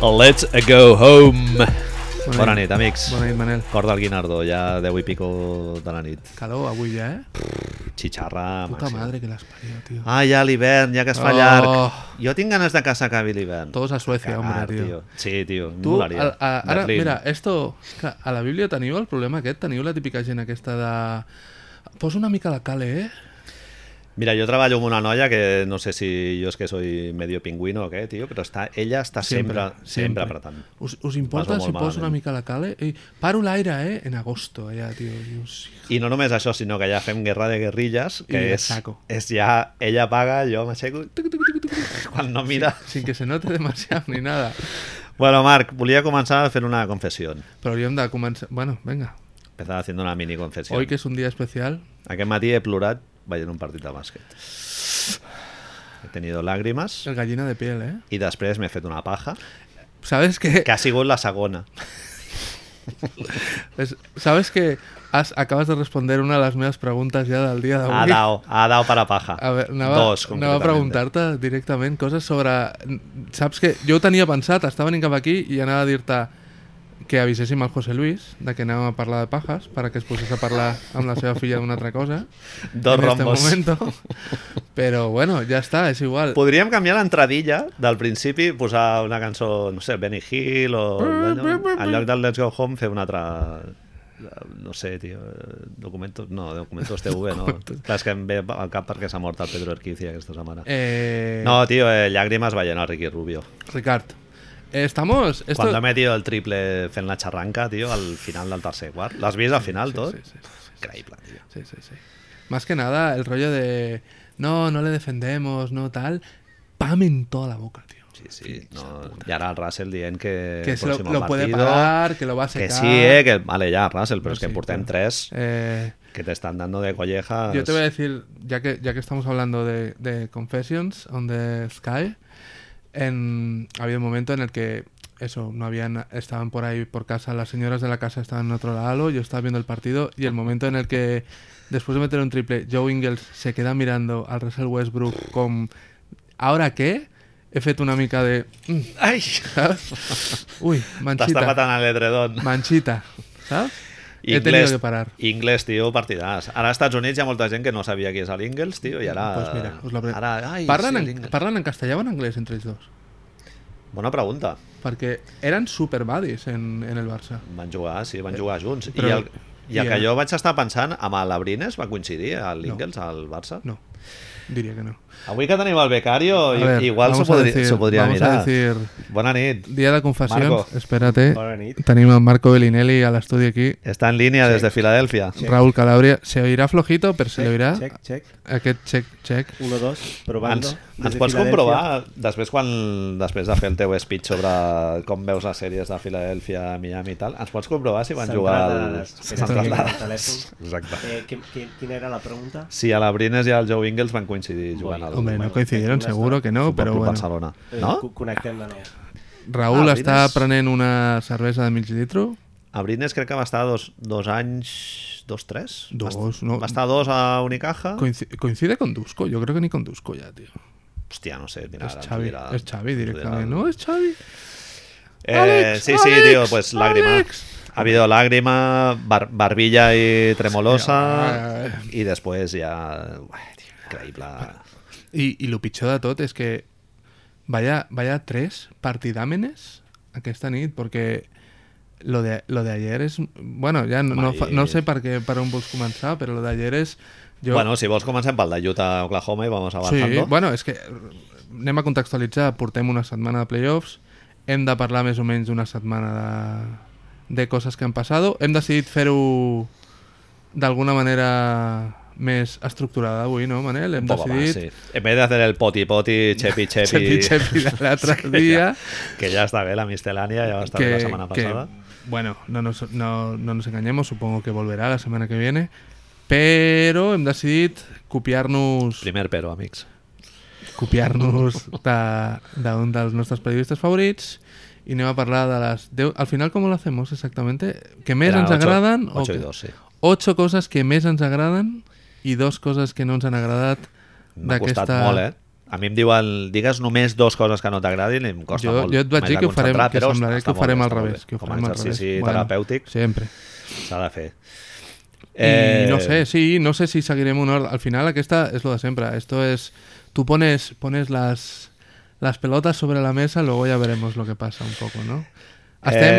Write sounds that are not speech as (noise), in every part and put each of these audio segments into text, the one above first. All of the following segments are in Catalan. Let's go home. Bona, bona nit, amics. Bona nit, Manel. Cor del Guinardó, ja 10 i pico de la nit. Calor avui ja, eh? Xitxarra, Puta màxima. madre que las parió, tío. Ah, ja l'hivern, ja que es fa Oh. llarg. Jo tinc ganes de que s'acabi l'hivern. Todos a Suecia, hombre, tío. Sí, tio, em Tu, molaria. a, a, ara, Berlín. mira, esto, clar, a la Bíblia teniu el problema aquest? Teniu la típica gent aquesta de... Posa una mica la cale, eh? Mira, jo treballo amb una noia que no sé si jo és que soy medio pingüino o què, tio, però està, ella està sempre, sempre, sempre apretant. Us, us importa Vas si molt poso una malament. mica la cale? Ei, paro l'aire, eh? En agosto, allà, tio. Dius, I no només això, sinó que ja fem guerra de guerrilles, que I de és, saco. és ja... Ella paga, jo m'aixeco... tuc, tuc, tuc, tuc, tuc, Quan no mira... sin que se note demasiado ni nada. Bueno, Marc, volia començar fent una confessió. Però hauríem de començar... Bueno, venga. Empezar haciendo una mini confessió. Hoy que es un día especial, Aquest matí he plorat veient un partit de bàsquet. He tenido lágrimas el gallina de piel, eh? i després m'he fet una paja, ¿Sabes qué? que ha sigut la segona. Es- ¿Sabes que has- acabas de responder una de las meves preguntes ja del dia Ha d'avui? dao, ha dao per a paja. A veure, anava, Dos, anava a concretament. preguntar-te directament coses sobre... Saps que jo ho tenia pensat, estava venint cap aquí i anava a dir-te que aviséssim al José Luis de que anàvem a parlar de pajas perquè es posés a parlar amb la seva filla d'una altra cosa Dos en este rombos. momento. Però bueno, ja està, és igual. Podríem canviar l'entradilla del principi, posar una cançó, no sé, Benny Hill o... Eh, En lloc del Let's Go Home fer una altra... No sé, tio, documentos... No, documentos TV, no. Clar, és que em ve al cap perquè s'ha mort el Pedro Erquiz aquesta setmana. Eh, No, tio, eh, llàgrimes veient el Ricky Rubio. Ricard, eh, estamos... Esto... Quan ha metido el triple fent la xarranca, tio, al final del tercer quart. L'has vist al final, tot? Sí, sí, sí. Increïble, tio. Sí, sí, sí. Más que nada, el rollo de no, no le defendemos, no tal. Pam en toda la boca, tío. Sí, sí. No, I ara el Russell dient que... Que se lo, Eh, próximo lo puede partido, pagar, que lo va a Que secar. sí, eh, que... Vale, ja, Russell, però és que sí, portem però- tres Eh, que te están dando de collejas. yo te voy a decir, ya que, ya que estamos hablando de, de Confessions on the Sky, en, había un momento en el que eso, no habían, estaban por ahí por casa, las señoras de la casa estaban en otro lado, yo estaba viendo el partido y el momento en el que después de meter un triple, Joe Ingles se queda mirando al Russell Westbrook con ¿ahora qué? He fet una mica de... mm, Ai! ¿sabes? Uy, T'has tapat manchita. en l'edredon. Manchita. ¿Sabes? He tenido que parar. Inglés, tio, partidàs. Ara als Estats Units hi ha molta gent que no sabia qui és l'Ingles, tio, i ara... Pues Doncs mira, us la pre- Ara, ai, parlen, sí, en, l'Ingles. parlen en castellà o en anglès entre ells dos? Bona pregunta. Perquè eren superbadis en, en el Barça. Van jugar, sí, van jugar junts. Eh, però- I el, i el i que el- jo vaig estar pensant, amb el Labrines va coincidir, eh, el Ingles, al Barça. No, diria que no. Avui que tenim el Becario, A i- ver, igual s'ho vamos a podri, decir- s'ho podria vamos mirar. a decir, Bona nit. dia de confessions, Marco. espérate. Bona nit. Tenim en Marco Bellinelli a l'estudi aquí. Està en línia des de Filadèlfia. Raúl Calabria. Se oirà flojito, però se Check, l'oirà. Check, check. Aquest check, check. 1, 2, provando. Ens, Des ens de pots Filadèlfia. comprovar, després quan després de fer el teu speech sobre com veus les sèries de Filadèlfia, Miami i tal, ens pots comprovar si van jugar al... Centrades. Espera, que Centrades. el telèfon. Exacte. Eh, qui, qui, quina era la pregunta? Si a l'Abrines i al Joe Ingles van coincidir jugant al Hombre, no bueno, coincidieron, una està- seguro que no, Futbol però Club bueno. Barcelona. Eh, No? co- Connectem de nou. Raúl Ah, està vines. prenent una cervesa de mig litro. Abrines crec que va estar dos, dos anys... Dos, tres? Dos, va, est- no. Va estar dos a Unicaja. Coinci- Coincide con Dusko, yo creo que ni con Dusko ya, tío. Hòstia, no sé. Mira, Es ara ens ho Xavi, dirà- es Xavi ens ho dirà directamente. el- No, es Xavi. Eh, Àlex, sí, sí, Àlex, tío, pues lágrima. Àlex. Ha habido lágrima, bar- barbilla y tremolosa. Hòstia, y después ya. Uah, tio, increíble. I, i el pitjor de tot és que vaya, vaya tres partidàmenes aquesta nit, perquè lo de, lo de ayer és... Bueno, ja no, no, fa, no sé per, què, per on vols començar, però lo de ayer és... Jo, Bueno, si vos comencem pel de Utah a Oklahoma y vamos sí, avanzando. bueno, és que anem a contextualitzar, portem una setmana de playoffs, hem de parlar més o menys d'una setmana de, de coses que han passat, hem decidit fer-ho d'alguna manera més estructurada avui, no, Manel? Un Hem poco más, decidit... sí. En vez de hacer el poti poti, chepi chepi, (laughs) Chepi, chepi (laughs) de l'altre que dia. ya, que ya está bien la miscelánea, ya va a estar la semana pasada. bueno, no nos, no, no nos engañemos, supongo que volverá la semana que viene. Pero hem decidit copiar-nos Primer pero, amigos. copiar-nos de- d'un dels nostres periodistes favorits i anem a parlar de les 10... Al final, com ho hacemos exactamente? Que més Era ens ocho- agraden... ocho y que- dos, sí. Ocho coses que més ens agraden i dos coses que no ens han agradat M'ha costat d'aquesta- molt, eh? A mi em diuen, digues només dues coses que no t'agradin i em costa Jo- molt. jo et vaig m'he dir de que ho farem- concentrar, que però semblaré està que molt ho bé, farem al està molt revés, bé. que ho Com a farem al exercici revés. Bueno. terapèutic Sempre. s'ha de fer. Eh, Y no sé, sí, no sé si seguiremos un orden. Al final, aquesta es lo de siempre. Esto es. Tú pones, pones las, las pelotas sobre la mesa, luego ya veremos lo que pasa un poco, ¿no? Eh,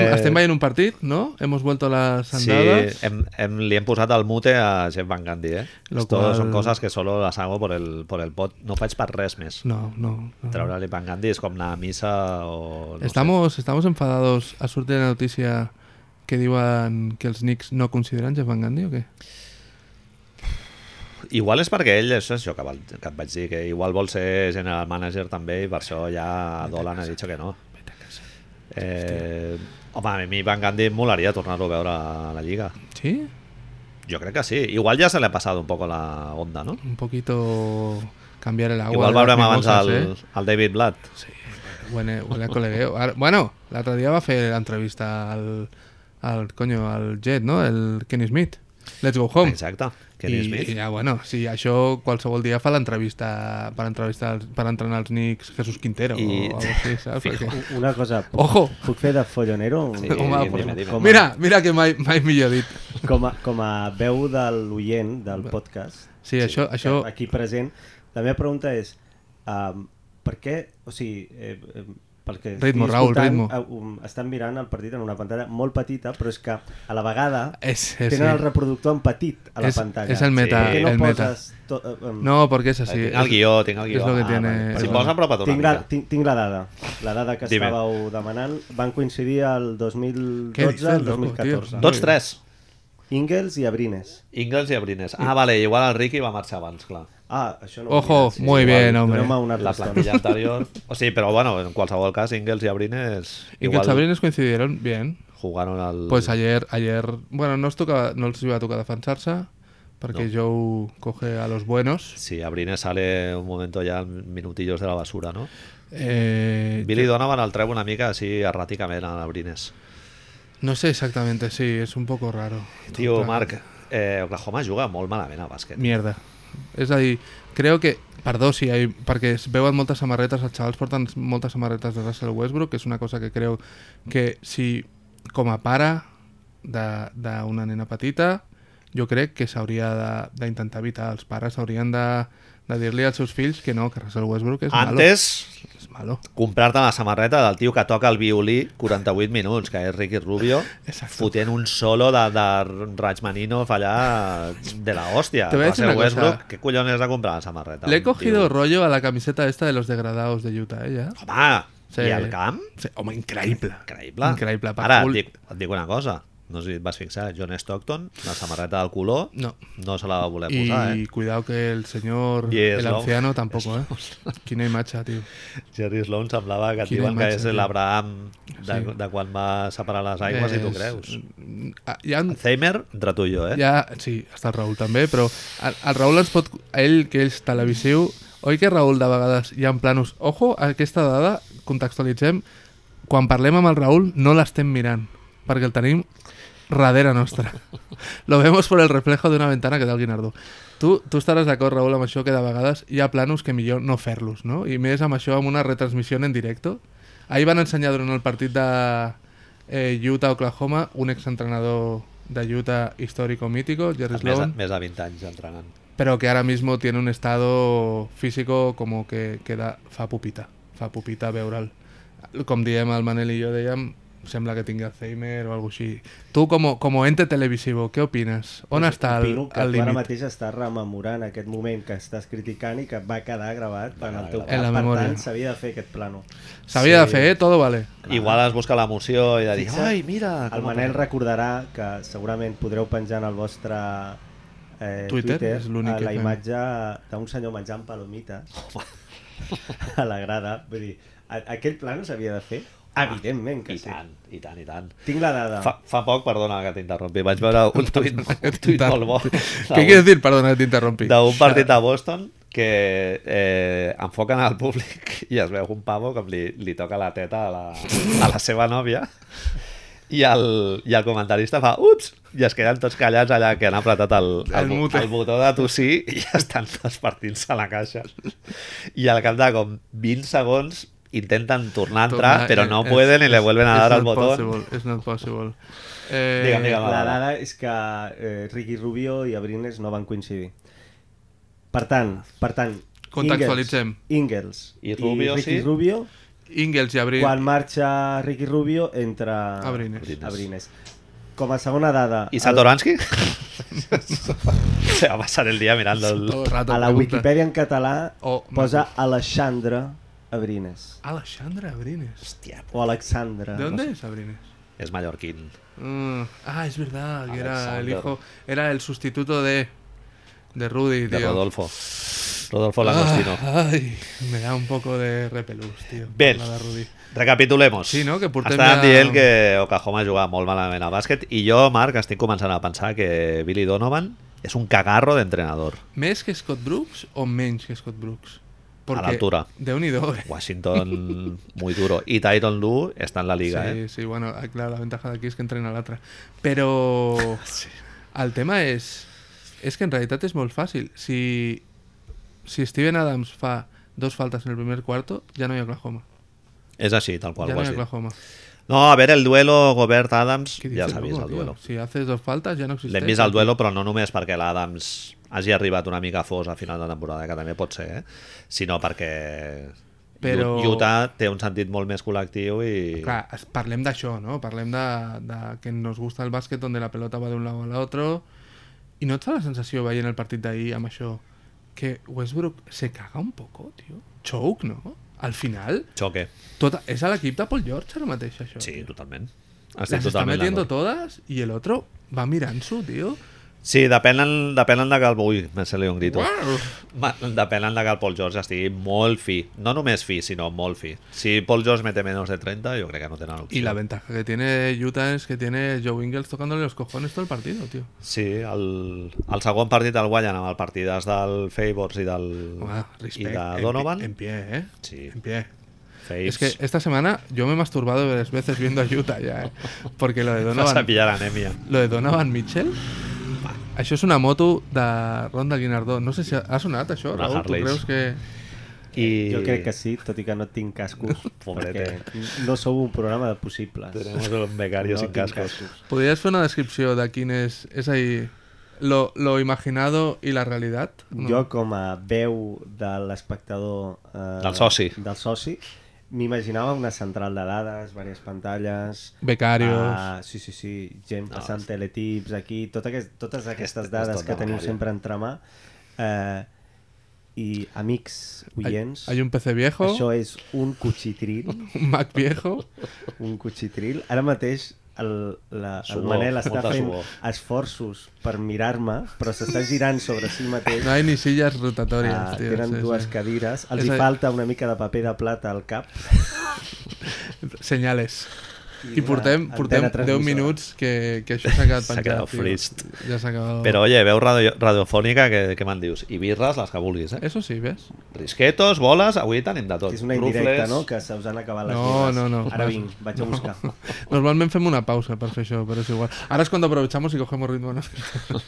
Hasta en en un partido, ¿no? Hemos vuelto a las Sí, andadas. hem, hem, li hem posat el mute a Jeff Van Gandhi, eh? Lo Esto qual- són coses que solo les hago por el, por el pot. No faig per res més. No, no. no. Treure-li Van Gandhi és com anar a missa o... No estamos, estamos enfadados. A suerte de la noticia que digan que los Knicks no consideran Jeff Van Gandhi o qué? Sé. Igual és perquè ell, és això que, val, que et vaig dir, que igual vol ser general manager també i per això ja Dolan ha dit que no. Eh, home, a mi Van Gandhi em molaria tornar-lo a veure a la Lliga. Sí, Jo crec que sí. Igual ja se li ha passat un poc la onda, no? un poquito cambiar el agua. Igual de las veurem abans mimosas, el, ¿eh? el David Blatt. Sí, huele, huele (laughs) a colegueo. Ahora- bueno, la otra día va a hacer la entrevista al, al coño, al Jet, ¿no? El Kenny Smith. Let's go home. Exacte. Kenny I, Smith. I ja, bueno, sí, això qualsevol dia fa l'entrevista per, entrevistar, els- per entrenar els Knicks Jesús Quintero I- o algo així, saps? Fijo. Perquè... Una cosa, puc, Ojo! puc fer de follonero? Sí, Home, dime, pues, dime. com, Mira, mira que mai, mai millor dit. Com a, com a veu de l'oient del podcast, Sí, això... això aquí present, la meva pregunta és, um, per què, o sigui, eh, eh, perquè eh, Ritmo, Raül, ritmo. um, estan mirant el partit en una pantalla molt petita, però és que a la vegada és, és, tenen el reproductor en petit a la És- pantalla. és el meta, Per què no el meta. poses to- eh, em- No, perquè és així. Tinc el guió, tinc el és guió. Ah, lo que tiene- vale. Si Ah, vale. vols, apropa't una Tinc la, mica. tinc, tinc la dada, la dada que Dime. estàveu demanant. Van coincidir el Què dices, 2012 al loco, tio? 2014. Tots tres. Ingels i Abrines. Ingles i Abrines. Ah, vale, igual el Ricky va marxar abans, clar. Ah, això no ho Ojo, he mirat. muy igual, bien, hombre. doneu-me una La restona. plantilla anterior... O sigui, però bueno, en qualsevol cas, Ingles i Abrines I que igual els Sabrines coincidieron bien. jugaron al... Pues ayer, ayer, bueno, no os toca, no les iba a tocar defensarse, porque Joe coge a los buenos. Sí, Abrines sale un momento ya en minutillos de la basura, no? Eh, Billy Donovan el treu una mica així erràticament a Abrines. no sé exactamente, sí, es un poco raro. Tio, Tota- Marc, eh, Oklahoma juga molt malament a bàsquet. Mierda. Es ahí, creo que, perdó, sí, hay, perquè es veuen moltes samarretes, els xavals porten moltes samarretes de Russell Westbrook, que és una cosa que creu que si com a pare de- d'una nena petita, jo crec que s'hauria de- d'intentar evitar. Els pares haurien de, de dir-li als seus fills que no, que Russell Westbrook és malo. Antes, És malo. comprar-te la samarreta del tio que toca el violí 48 minuts, que és Ricky Rubio, Exacte. fotent un solo de, de Rachmaninov allà de la hòstia. Te voy a decir Va ser una cosa. Westbrook, què collons has de comprar la samarreta? Le he Un cogido tio- rollo a la camiseta esta de los degradados de Utah, ¿eh? ¿Ya? Home, Sí. i el camp? Sí, home, increïble. Increïble. Increïble, per Ara, cul. et dic, et dic una cosa. No sé si et vas fixar, John Stockton, la samarreta del color, No. no se la va voler Y posar, eh? cuidado que el señor, Y es el lo- anciano tampoco, ¿eh? Quina y macha, tío. Jerry Sloan semblava que et Quina diuen que imatge, és tio. l'Abraham de, Sí. de quan va separar les aigües, i tu creus. Ah, hi ha- Alzheimer, entre tu i jo, eh? hi ha- sí, hasta el Raúl también, pero al Raúl ens pot... A ell, que és televisiu, oi que Raúl de vegades hi ha planos... Ojo, aquesta dada, contextualitzem, quan parlem amb el Raúl no l'estem mirant, perquè el tenim darrere nostra. Lo vemos por el reflejo d'una ventana que té el Guinardó. Tu, tu estaràs d'acord, Raúl, amb això que de vegades hi ha planos que millor no fer-los, no? I més amb això, amb una retransmissió en directe. Ahir van ensenyar durant el partit de eh, Utah-Oklahoma un exentrenador de Utah histórico mítico, Jerry Més, de- Sloan, més de 20 anys entrenant. pero que ahora mismo tiene un estado físico como que queda fa pupita, fa pupita veure'l. Com diem el Manel i jo dèiem, sembla que tingui Alzheimer o alguna així. Tu, com, com ente televisivo, què opines? On Pues està el, Opino que el tu ara límit? mateix estàs rememorant aquest moment que estàs criticant i que va quedar gravat en el teu En cap. la per memòria. tant, s'havia de fer aquest plano. S'havia de Sí. fer, eh? Todo vale. Igual es busca l'emoció i de dir, Fixa't, ai, mira... El Ah, com Manel ho- recordarà que segurament podreu penjar en el vostre eh, Twitter, Twitter, és l'únic a que la fem. imatge d'un senyor menjant (laughs) palomites a la grada. Vull dir, a- aquell plan s'havia de fer? Evidentment que Ah, I sí. tant, i tant, i tant. Tinc la dada. Fa, fa poc, perdona que t'interrompi, vaig veure (laughs) un tuit, un tuit molt (laughs) bo Què quieres dir? Perdona, que t'interrompi. d'un partit a Boston que eh, enfoquen al públic i es veu un pavo com li, li toca la teta a la, a la seva nòvia i el, i el comentarista fa ups, i es queden tots callats allà que han apretat el, el, El el, bu- mute. el botó de tossir i (laughs) estan tots partint-se la caixa i al cap de com 20 segons intenten tornar a entrar Torna- però no eh, pueden i es- le vuelven a es dar al not botó Possible, it's not possible. Eh, Digue'm, digue'm. La dada és que eh, Ricky Rubio i Abrines no van coincidir. Per tant, per tant, Contextualitzem. Ingels, I Rubio, Ricky sí. Rubio, Ingels i Abril. quan marxa Ricky Rubio, entra Abrines. Abrines. Com a segona dada, i a, la, (laughs) Satoransky (laughs) se va passar el dia mirant el... Todo el rato a la pregunta. Wikipedia en català Oh, posa Alexandra Abrines. Alexandra Abrines. Hòstia, O Alexandra. ¿De no dónde sé. es Abrines? és mallorquín Mm, ah, es verdad, que era el Alexander. hijo, era el sustituto de, de Rudy, de tío. Rodolfo Rodolfo Langostino Ah, ay, me da un poco de repelús, tío. Bé, la de Rudy. recapitulem-ho. Sí, no? Que portem Estàvem ja- dient que Oklahoma jugava molt malament al bàsquet i jo, Marc, estic començant a pensar que Billy Donovan és un cagarro d'entrenador. ¿Més que Scott Brooks o menos que Scott Brooks? l'altura. De un y dos. Washington, (laughs) muy duro. I Tyron Lue està en la liga, sí, eh? sí, bueno, ah, claro, la ventaja de aquí es que entrena la otra. Pero (laughs) al tema es es que en realidad es muy fácil. Si, si Steven Adams fa dos faltas en el primer cuarto, ya no hay Oklahoma. És així, tal qual. ya ho no hay has dit. Oklahoma. No, a veure, el duelo Gobert-Adams, ¿Qué ja dices, s'ha vist loco, el tío? duelo. Si haces dos faltas ya no existe. L'hem vist al duelo, però no només perquè l'Adams hagi arribat una mica fos a final de temporada, que també pot ser, eh? sinó perquè Però- Ut- Utah té un sentit molt més col·lectiu i... Clar, es- parlem d'això, no? Parlem de, de que nos gusta el bàsquet on la pelota va d'un lado a l'altre i no et fa la sensació veient el partit d'ahir amb això que Westbrook se caga un poco, tio? Choke, no? Al final, Choque. tota, és a l'equip de Paul George ara mateix, això. Sí, totalment. Las está metiendo todas y el otro va mirant-s'ho, tio. Sí, depenen, depenen de que el... Ui, me sale un grito. Uau! Ma- Depenen de que el Paul George estigui molt fi. No només fi, sinó molt fi. Si Paul George mete menos de 30, jo crec que no tenen opció. Y la ventaja que tiene Utah es que tiene Joe Ingles tocándole los cojones todo el partido, tío. Sí, el, el segon partit el guanyen amb el partidàs del Favors i del... Home, I respect. de en- Donovan. En, pie, ¿eh? Sí. En pie. Faves. Es que eh, esta semana yo me he masturbado varias veces viendo a Utah ya, ¿eh? Porque lo de (laughs) Vas a Donovan, pillar anèmia. lo de Donovan Mitchell... Això és una moto de Ronda Guinardó. No sé si ha, ha sonat això, Una Raül. Tu Harley. creus que... I... Jo crec que sí, tot i que no tinc (laughs) cascos, Pobrete. perquè no sou un programa de possibles. Tenemos un becario no sin tinc cascos. ¿Podrías hacer una descripción de quién es... Es ahí lo, lo imaginado y la realidad? No. Jo, com a veu de l'espectador... Eh, Del soci. Del soci, m'imaginava una central de dades, diverses pantalles... Becarios. Ah, sí, sí, sí, gent passant teletips aquí, tot aquest, totes aquestes Aquest- dades tot que de teniu memòria. sempre entre mà. Eh, I amics Hay, oients, hay un PC viejo, això és un (laughs) cuchitril. un Mac viejo. un cuchitril. Ara mateix el, la, el Suor, Manel està molta fent suor. esforços per mirar-me, però s'està girant sobre si (laughs) mateix. No hay ni sillas rotatorias, Ah, tío. tenen sí, dues sí. cadires, els És hi a- falta una mica de paper de plata al cap. Senyales. I I portem, una portem 10 antena transmissora. minuts que, que això s'ha quedat S'ha penjat. quedat tio. frist. Ja s'ha acabat. Però, oye, veu radio, radiofònica, què, què me'n dius? I birres, les que vulguis, eh? Eso sí, ves? Risquetos, boles, avui tenim de tot. Que és una indirecta, Trufles. no?, que se us han acabat les No, birres. no, no. Ara vas- vinc, vaig a no. buscar. Normalment fem una pausa per fer això, però és igual. Ara és quan aprovechamos y cogemos ritmo, ¿no?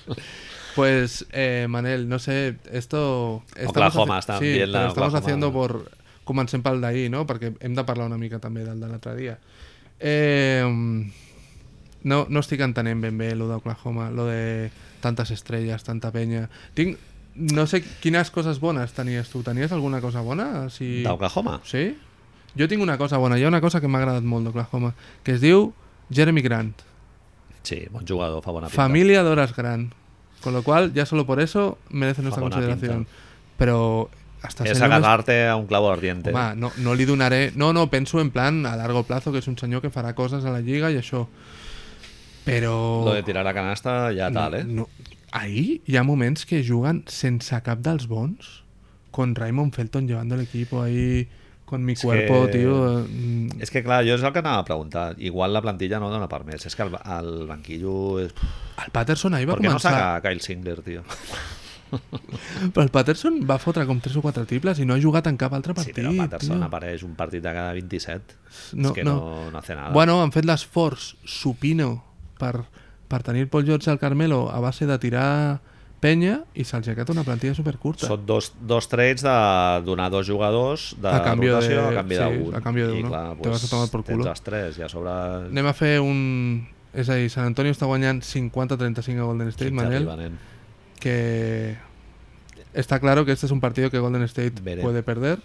(laughs) pues, eh, Manel, no sé, esto... estamos Oklahoma, haci- estan sí, dient la però estamos Oklahoma. haciendo por... Comencem pel d'ahir, no? Perquè hem de parlar una mica també del de l'altre dia. Eh, no, no estic entenent ben bé lo d'Oklahoma, lo de tantes estrelles, tanta penya. Tinc... No sé quines coses bones tenies tu. Tenies alguna cosa bona? Si... D'Oklahoma. Sí? Jo tinc una cosa bona, hi ha una cosa que m'ha agradat molt d'Oklahoma, que es diu Jeremy Grant, Sí, bon jugador, fa bona pinta. familia de horas Grant, con lo cual ya solo por eso merece nuestra Buena consideración. pinta. Pero hasta És eh. senyor més- agarrar-te a un clavo ardiente. Home, no, no li donaré... No, no, penso en plan a largo plazo, que és un senyor que farà coses a la lliga i això. Però... Lo de tirar a canasta ja tal, eh? No, ahí hi ha moments que juguen sense cap dels bons, con Raymond Felton llevando el equipo ahí, con mi És que- cuerpo, tío... mm, És que, clar, jo és el que anava a preguntar. Igual la plantilla no dona per més. És que el, el banquillo... És... El Patterson ahir va Per què no començar... saca Kyle Singler, tio? Però el Patterson va fotre com 3 o 4 triples i no ha jugat en cap altre Sí, partit. però Patterson tio. apareix un partit de cada 27. No, és que no. no, no hace nada. Bueno, han fet l'esforç, supino, per, per tenir Paul George al Carmelo a base de tirar penya i se'ls ha quedat una plantilla supercurta. Són dos, dos trets de donar dos jugadors de A canvi rotació de- a canvi d'un. sí, a I canvi d'un. clar, Te pues, vas a tomar por culo. Tens els tres i a sobre... Anem a fer un... És a dir, Sant Antonio està guanyant 50-35 a Golden State, quinze Manel, arriba, nen. que está claro que este es un partido que Golden State Veremos. puede perder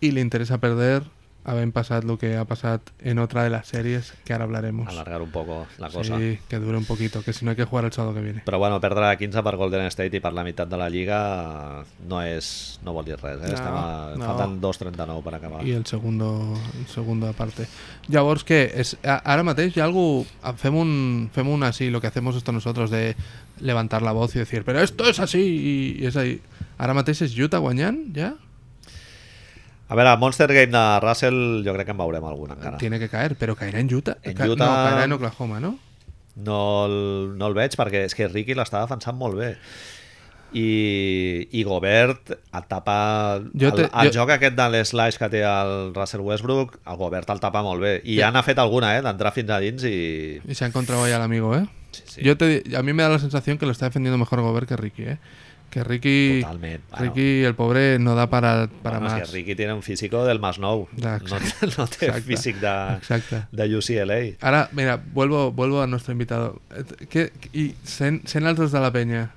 y le interesa perder haber pasado lo que ha pasado en otra de las series que ahora hablaremos. Alargar un poco la cosa. Sí, que dure un poquito, que si no hay que jugar el sábado que viene. Però bueno, perdre 15 per Golden State i per la meitat de la Lliga no és no vol dir res. Eh? No, Estem a, no. Falten 2.39 per acabar. Y el segundo, el segundo aparte. Llavors, que es, ahora mateix hi ha algo, ah, fem un, fem un así, lo que hacemos esto nosotros de levantar la voz y decir, pero esto es así, y, y es ahí. Ahora mateix es Utah guanyant, ja? A veure, Monster Game de Russell jo crec que en veurem alguna encara. Tiene que caer, pero caerá en Utah. En Ca- No, Utah- caerá en Oklahoma, ¿no? No el, no el veig perquè és que Ricky l'està defensant molt bé. I, i Gobert et tapa Jo el, te- el jo- joc aquest de l'slash que té el Russell Westbrook el Gobert el tapa molt bé i ja n'ha fet alguna, eh, d'entrar fins a dins i Y se ha encontrado ahí al amigo, ¿eh? Sí, sí. Yo te, a mí me da la sensación que lo está defendiendo mejor Gobert que Ricky, ¿eh? Que Ricky, Totalment, bueno. Ricky el pobre, no da para, para bueno, és más. que Ricky tiene un físico del más nou no, Exacte. té- (laughs) no té Exacte. físic de, Exacto. de UCLA Ahora, mira, vuelvo, vuelvo a nuestro invitado. Eh, ¿Qué, y sent, sent els dos de la peña.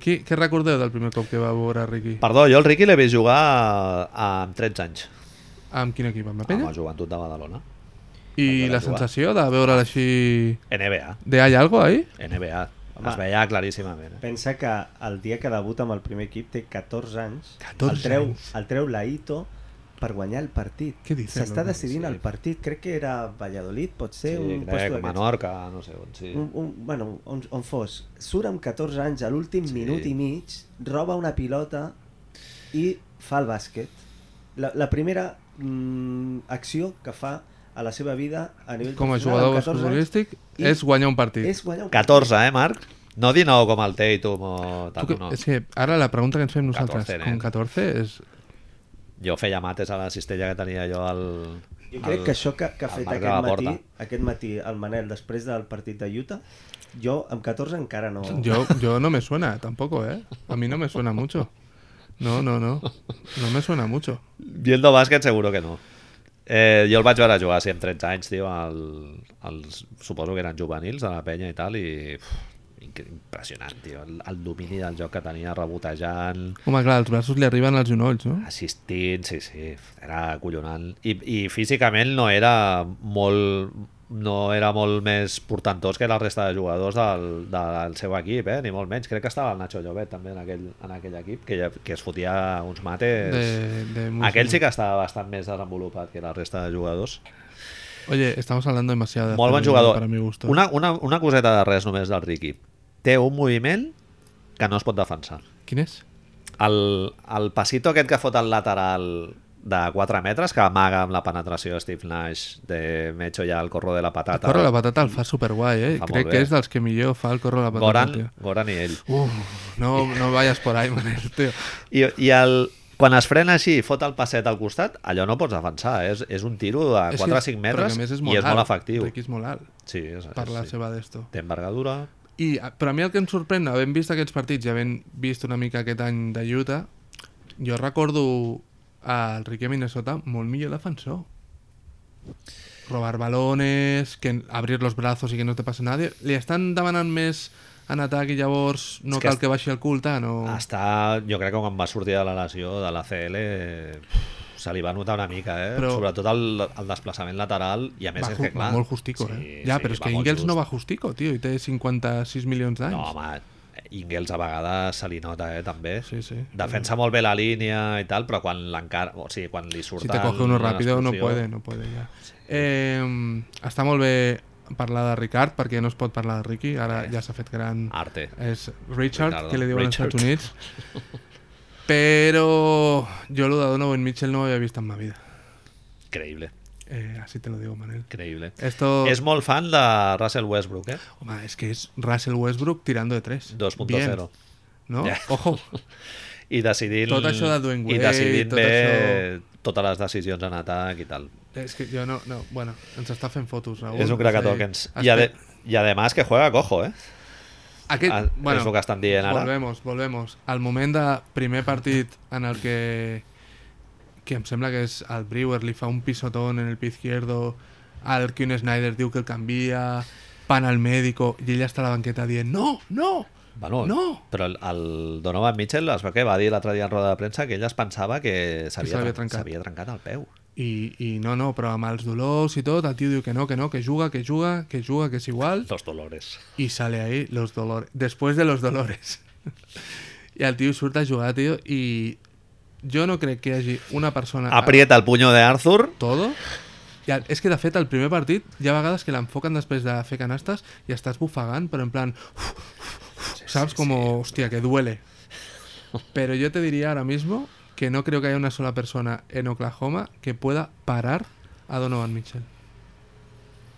¿Qué, qué recordeu del primer cop que va veure Ricky? perdó, jo el Ricky l'he vist jugar amb 13 anys Amb quin equip? Amb la amb penya? el joventut de Badalona I Ah, Amb la el Joan. sensació de veure'l així... NBA, De hay algo ahí? NBA Home. Ah. es veia claríssimament eh? Pensa que el dia que debuta amb el primer equip té 14 anys. 14 el treu, anys. El treu l'Aito per guanyar el partit. Què dices, S'està no? decidint Sí. el partit. Crec que era Valladolid, pot sí, ser un crec, puesto d'aquests. Mm. Menorca, no sé on sí. un, un, bueno, on, on fos, surt amb 14 anys a l'últim Sí. minut i mig, roba una pilota i fa el bàsquet. La, la primera mm, acció que fa a la seva vida a nivell Com a professional, jugador amb 14 anys, basquetbolístic, i- és guanyar un partit. és guanyar un 14, eh, Marc? No 19 com el Tatum o Tu tal, que- no. eh? És que ara la pregunta que ens fem nosaltres 14, com nen. 14 és... Jo feia mates a la cistella que tenia jo al... Jo crec al- que això que, que ha al fet marc de aquest la porta. matí, aquest matí el Manel després del partit de Utah, jo amb 14 encara no... Jo, jo no me suena tampoco, ¿eh? A mí no me suena mucho. No, no, no. No me suena mucho. Viendo bàsquet seguro que no. Eh, jo el vaig veure jugar, sí, amb 13 anys, tio, al, als, suposo que eren juvenils de la penya i tal, i uf, inc- impressionant, tio, el, el domini del joc que tenia, rebotejant, Home, clar, els braços li arriben als genolls, no? assistint, sí, sí, era acollonant. I, i físicament no era molt no era molt més portantós que la resta de jugadors del, del seu equip, eh? ni molt menys. Crec que estava el Nacho Llobet també en aquell, en aquell equip, que, ja- que es fotia uns mates. De, de muy- Aquell sí que estava bastant més desenvolupat que la resta de jugadors. Oye, estamos hablando demasiado de Molt bon Fernando jugador. Para mi gusto. Una, una, una coseta de res només del Ricky. Té un moviment que no es pot defensar. ¿Quién es? El, el passito aquest que fot el lateral de 4 metres, que amaga amb la penetració de Steve Nash, de me echo ya el corro de la El patata. corro de la patata el fa superguai, eh? Fa molt Crec bé. que és dels que millor fa el corro de la patata, Goran, tio. Goran i ell. Uf, no, no vayas por ahí, Manel, tío. I, i el, quan es frena així i fot el passet al costat, allò no pots defensar. És, és un tiro de És que- 4 o 5 però metres que a més és i és molt alt. efectiu. Ricky és molt alt Sí, és, per la és, sí. seva d'esto. Té envergadura. I, a- però a mi el que em sorprèn, havent vist aquests partits i havent vist una mica aquest any de Utah, jo recordo al Ricky a Minnesota molt millor defensor. Robar balones, que abrir los brazos i que no te passa nadie. Li estan demanant més en atac i llavors no És que cal es- que baixi el cul tant o... Està, jo crec que quan va sortir de la lesió de l'ACL eh, se li va notar una mica, eh? Però- Però... Sobretot el, el desplaçament lateral i a més va, és ju- que clar... va molt justico, eh? Ja, però és va que molt Ingels just. no va justico, tio, i té 56 milions d'anys. No, home, Ingels a vegades se li nota, eh, també. Sí, sí. Defensa molt bé la línia i tal, però quan l'encara... O sigui, quan li surt... Si te coge uno rápido no puede, no puede ja. Eh, està molt bé parlar de Ricard perquè no es pot parlar de Ricky, ara ja s'ha fet gran. Arte. És Richard, Ricardo. que li diuen als Richard. Estats (laughs) Units. Però jo lo de Donovan Mitchell no ho havia vist en ma vida. Increïble, Eh, así te lo digo, Manel. increïble. Esto... És molt fan de Russell Westbrook, eh? Home, es que es Russell Westbrook tirando de 3. 2.0. Bien. no? Ja. Ojo, I decidint... Tot això de Dwayne I Wade, decidint tot bé això- totes les decisions en atac i tal. és que jo no, no, bueno, ens està fent fotos, Raúl. és un crack tokens. I, ade Espe- I además que juega cojo, eh? Aquest, Ah, bueno, és el que estan dient ara. Volvemos, volvemos. Al moment de primer partit en el que que em sembla que és el Brewer li fa un pisotón en el pie izquierdo al Quinn Snyder diu que el canvia pan al médico i ella està a la banqueta dient no, no, Bueno, No. Però el, el Donovan Mitchell es veu que va dir l'altre dia en roda de premsa que ell es pensava que s'havia s'havia tren- trencat. s'havia trencat. el peu. I, i no, no, però amb els dolors i tot, el tio diu que no, que no, que juga, que juga, que juga, que és igual, Los dolores. i sale ahí los dolores, després de los dolores. (laughs) I el tio surt a jugar, tio, i jo no crec que hi hagi una persona... Ah, Aprieta el puño de Arthur. Todo. I el, és que, de fet, el primer partit hi ha vegades que l'enfoquen després de fer canastes i estàs bufegant, però en plan... Uf, uf, uf, saps? Com, hòstia, que duele. Pero yo te diría ahora mismo que no creo que haya una sola persona en Oklahoma que pueda parar a Donovan Mitchell.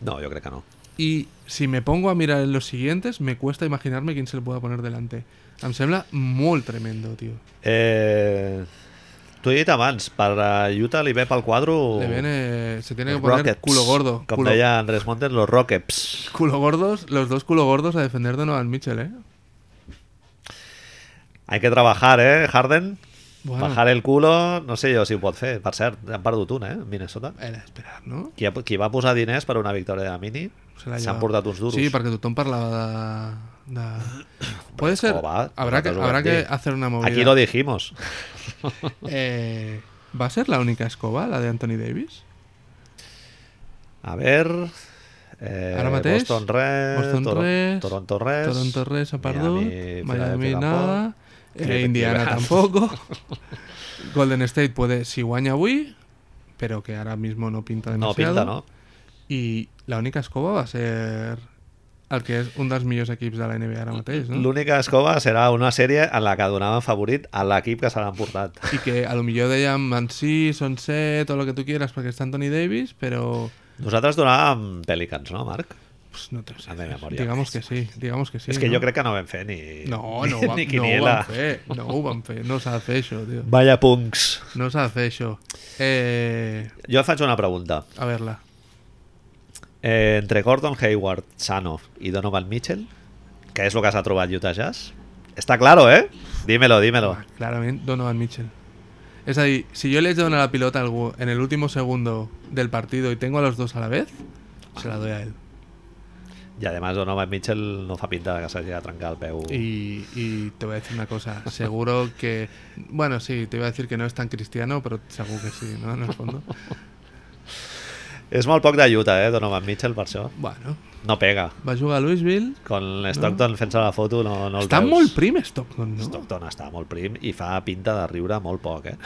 No, jo crec que no. Y si me pongo a mirar en los siguientes, me cuesta imaginarme quién se le pueda poner delante. Em sembla molt tremendo, tío. Eh... T'ho he dit abans, per a Utah li ve pel quadro... Le viene, se tiene que Oh. los poner Rockets. culo gordo. Com culo- deia Andrés Montes, los Rockets. Culo gordos, los dos culo gordos a defender de Donovan Mitchell, ¿eh? Hay que trabajar, eh, Harden? Bueno. Bajar el culo, no sé jo si ho pot fer. Per cert, han perdut un, eh, Minnesota. Era esperar, no? Qui, ha- qui va posar diners per una victòria de Mini Se s'han l'ha llevat. portat uns duros. Sí, perquè tothom parlava de... de... Puede ser... Escobar, habrá que, nosaltres ho habrá vam que dir. hacer una movida. Aquí lo dijimos. Eh, ¿Va a ser la única escoba, la de Anthony Davis? A ver... Eh, Ara mateix, Boston Red, Boston Toro- Res, Toronto Res, Toronto Res ha perdut, Miami, Filadèlfia tampoc. nada, eh, Cleveland. Indiana (laughs) tampoco. Golden State puede, si guanya avui, pero que ahora mismo no pinta No demasiado. pinta, no? I la única escoba va ser el que és un dels millors equips de la NBA ara mateix, Pues no? L'única escova serà una sèrie en la que donaven favorit a l'equip que se l'han portat. Y que a lo millor dèiem en sí, són set, o lo que tú quieras, porque está Anthony Davis, pero Nosaltres donàvem Pelicans, no, Marc? pues, no te ho sé. A de memòria. Digamos que sí, digamos que sí. És que no? jo crec que no vam fer ni, No, (laughs) ni, no, ni ho va, no ho van quiniela. fer, no ho van fer, no s'ha de fer això, tio. Vaya punks. No s'ha de fer això. Eh, Jo et faig una pregunta. a veure-la. Eh, entre Gordon Hayward, Sano i Donovan Mitchell, que és el que s'ha trobat Utah Jazz, està claro, eh? Dímelo, dímelo. Clarament, Donovan Mitchell. Es ahí, si yo le echo la pilota a algo en el último segundo del partido y tengo a los dos a la vez, se la doy a él. I, además, Donovan Mitchell no fa pinta de que s'hagi de trencar el peu. Y, y te voy a decir una cosa, seguro que, bueno, sí, te iba a decir que no es tan cristiano, pero seguro que sí, ¿no? En el (laughs) fondo. És molt poc de Utah, eh, Donovan Mitchell, per això. Bueno, No pega. va a jugar a Louisville. Con Stockton fent-se la foto no, no el Està veus. molt prim Stockton, no? Stockton està molt prim i fa pinta de riure molt poc, eh?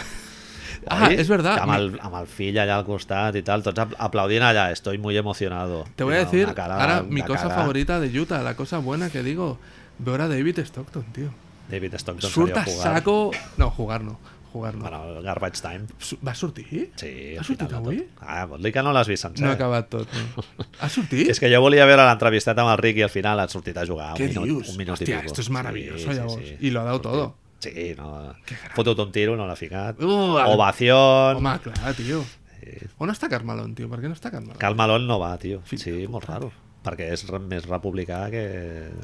Ah, Oi? és verdad. Amb el, amb el fill allà al costat i tal, tots apl- aplaudint allà, estoy muy emocionado. Te voy a Una decir cara ahora de mi cosa cagar. favorita de Utah, la cosa buena que digo, veo a David Stockton, tío. David Stockton Surta sabia jugar. saco... No, jugar no, jugar no. Bueno, el Garbage Time. Su- Va sortir? Sí, ha al final sortit de tot. avui? Ah, vol dir que no l'has vist sencer. No ha acabat tot. No. Ha sortit? (laughs) És que jo volia veure l'entrevistat amb el Rick i al final ha sortit a jugar Què un minut, dius? un minut Hòstia, i pico. esto es maravilloso, llavors. I lo ha dado Sortit. todo. Sí, no. Fotut un tiro, no l'ha ficat. Uh, el- Ovación. Home, clar, tio. Eh. On està Carmelón, tio? Per què no està Carmelón? Cal Malone no va, tio. Fill sí, molt raro. Perquè és re- més republicà que...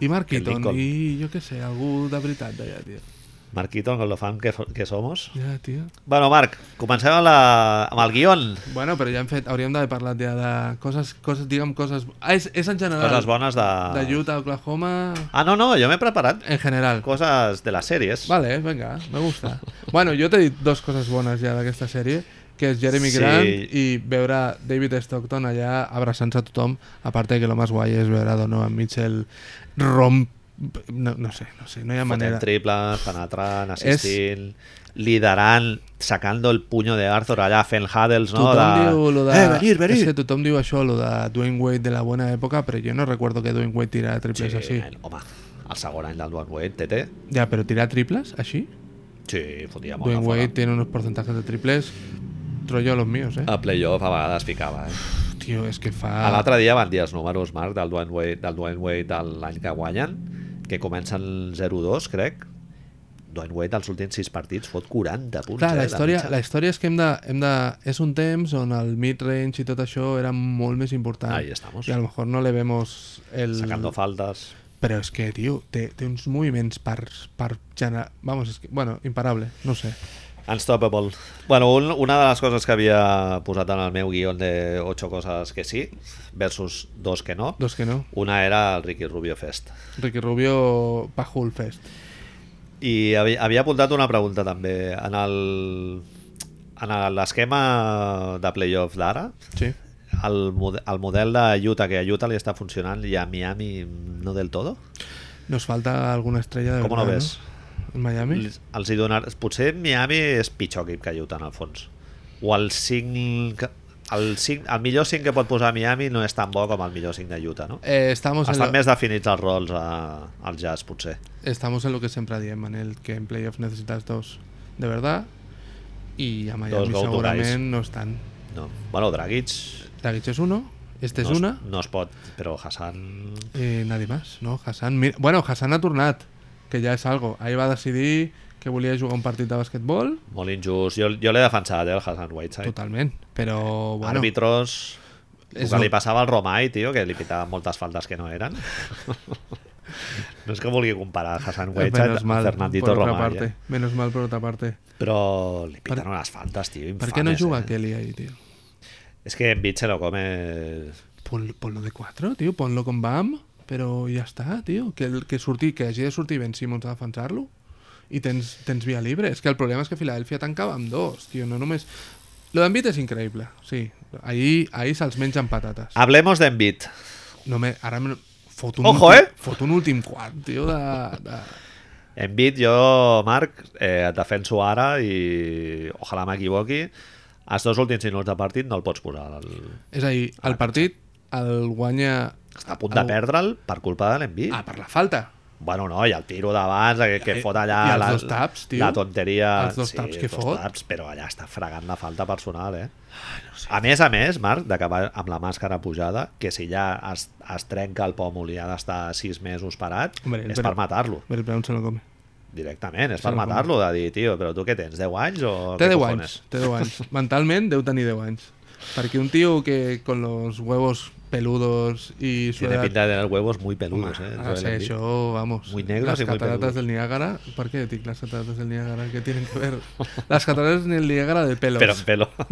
I Mark que Eaton, Lincoln. i jo què sé, algú de veritat d'allà, tio. Mark Eaton, con lo fan que, fo- que somos. Ja, tio. Bueno, Marc, comencem amb, la, amb el guion. Bueno, però ja hem fet, hauríem d'haver parlat ja de coses, coses diguem coses... Ah, és, és en general. Coses bones de... De Utah, Oklahoma... Ah, no, no, jo m'he preparat En general. coses de les sèries. Vale, venga, me (laughs) gusta. bueno, jo t'he dit dos coses bones ja d'aquesta sèrie, que és Jeremy Sí. Grant i veure David Stockton allà abraçant-se a tothom, a part de que el més guai és veure a Donovan Mitchell romp... No, no sé, no sé, no hi ha Fotent manera. triples, penetrant, assistint, liderant, sacando el puño de Arthur allà fent huddles, no? Tothom de... diu lo de... Eh, venir, venir! És que tothom diu això, lo de Dwayne Wade de la bona època, però jo no recordo que Dwayne Wade tirara triples Sí, així. home, el segon any del Dwayne Wade, tete. Ja, però tirar triples així? Sí, fotia molt Dwayne a fora. Wade tiene unos porcentajes de triples trollo a los míos, eh? A playoff a vegades ficava, eh? Tio, és que Ah. fa... L'altre dia van dir els números, Marc, del Dwayne Wade, del Dwayne Wade de l'any que guanyen, que comencen 0-2, crec, Dwight Wade als últims sis partits fot 40 punts. Clar, eh, la de història, mitja. la història és que hem de, hem de... És un temps on el mid-range i tot això era molt més important. Ahí estamos. I a lo mejor no le vemos el... Sacando faltas. Però és que, tio, té, té uns moviments per... per generar... Vamos, és que, bueno, imparable, no ho sé. Unstoppable. Bueno, un, una de les coses que havia posat en el meu guion de 8 coses que sí versus dos que no, Dos que no. una era el Ricky Rubio Fest. Ricky Rubio Pajul Fest. I havia, havia apuntat una pregunta també. En el- en el- l'esquema de playoff d'ara, Sí. el, mode- el model de Utah, que a Utah li està funcionant i a Miami no del todo, Nos falta alguna estrella de com ho verdad, ves? no? En Miami? Li- Els hi donar... Potser Miami és pitjor equip que Utah, en el fons. O el 5... que- El, 5, el millor 5 que pot posar Miami no és tan bo com el millor 5 de Utah, no? Eh, estamos, en Estan lo, més definits els rols a, al jazz, potser. estamos en lo que siempre diem, Manel, que en playoff necesitas dos de verdad y a Dos Miami go-to seguramente guys. no están. No. Bueno, Dragic... Dragic es uno, este no es es- una, No es pot, però Hassan... eh, nadie más, ¿no? Hassan, mira- bueno, Hassan ha tornat, que ya es algo. Ahí va a decidir que volia jugar un partido de básquetbol, Molt injust. Jo, jo l'he defensat, eh, el Hassan Whiteside. totalmente, pero bueno, Àrbitros... El És que lo- li passava al Romai, tio, que li pitava moltes faltes que no (laughs) eren. no és que vulgui comparar Hassan Whiteside Eh, menos amb mal, Fernandito por otra Romai, parte, eh? menos mal por otra parte. Però li piten Per- unes faltes, tio, infames. ¿Por qué no juga eh? Kelly ahí, tío? És que Embiid se lo come... Pon, ponlo de 4, tío, ponlo con BAM, pero ya está, tío. Que, el, que, surti, que hagi de sortir Ben Simmons a defensar-lo i tens, tens via libre. És que el problema és que Filadèlfia tancava amb dos, tio, no només... Lo d'Envit és increïble, sí. Ahir, ahir se'ls mengen patates. Hablemos d'Embiid. No me, ara me, fot un Ojo, últim, eh? Fot un últim quart, tio, de... de... Embiid, jo, Marc, eh, et defenso ara i ojalà m'equivoqui. Els dos últims minuts de partit no el pots posar. El... És a dir, el partit el guanya... Està a punt de el- perdre'l per culpa de l'Embiid. Ah, per la falta. Bueno, no, i el tiro d'abans, que, que I- fot allà Eh, i els la, dos taps, tio. la tonteria. Els dos taps que dos fot. Taps, però allà està fregant la falta personal, eh? A més a més, Marc, d'acabar amb la màscara pujada, que si ja es, es trenca el pòmul i ha d'estar sis mesos parat, Hombre, és però- per matar-lo, Mary Brown se lo come. directament, és Això per no com- matar-lo, de dir, tio, però tu què tens, 10 anys o Té què 10 cojones?" anys, té 10 anys. (laughs) Mentalment deu tenir 10 anys. Perquè un tio que con los huevos peludos y su Tiene edad... pinta de tener huevos muy Home, peludos, eh? ha de Joel ser Embiid. això, vamos. Muy negros Las y muy cataratas peludos. del Niágara... ¿Por qué dic las cataratas del Niágara? ¿Qué tienen que ver? (laughs) Las cataratas del Niágara de pelos. Però en pelo. (laughs)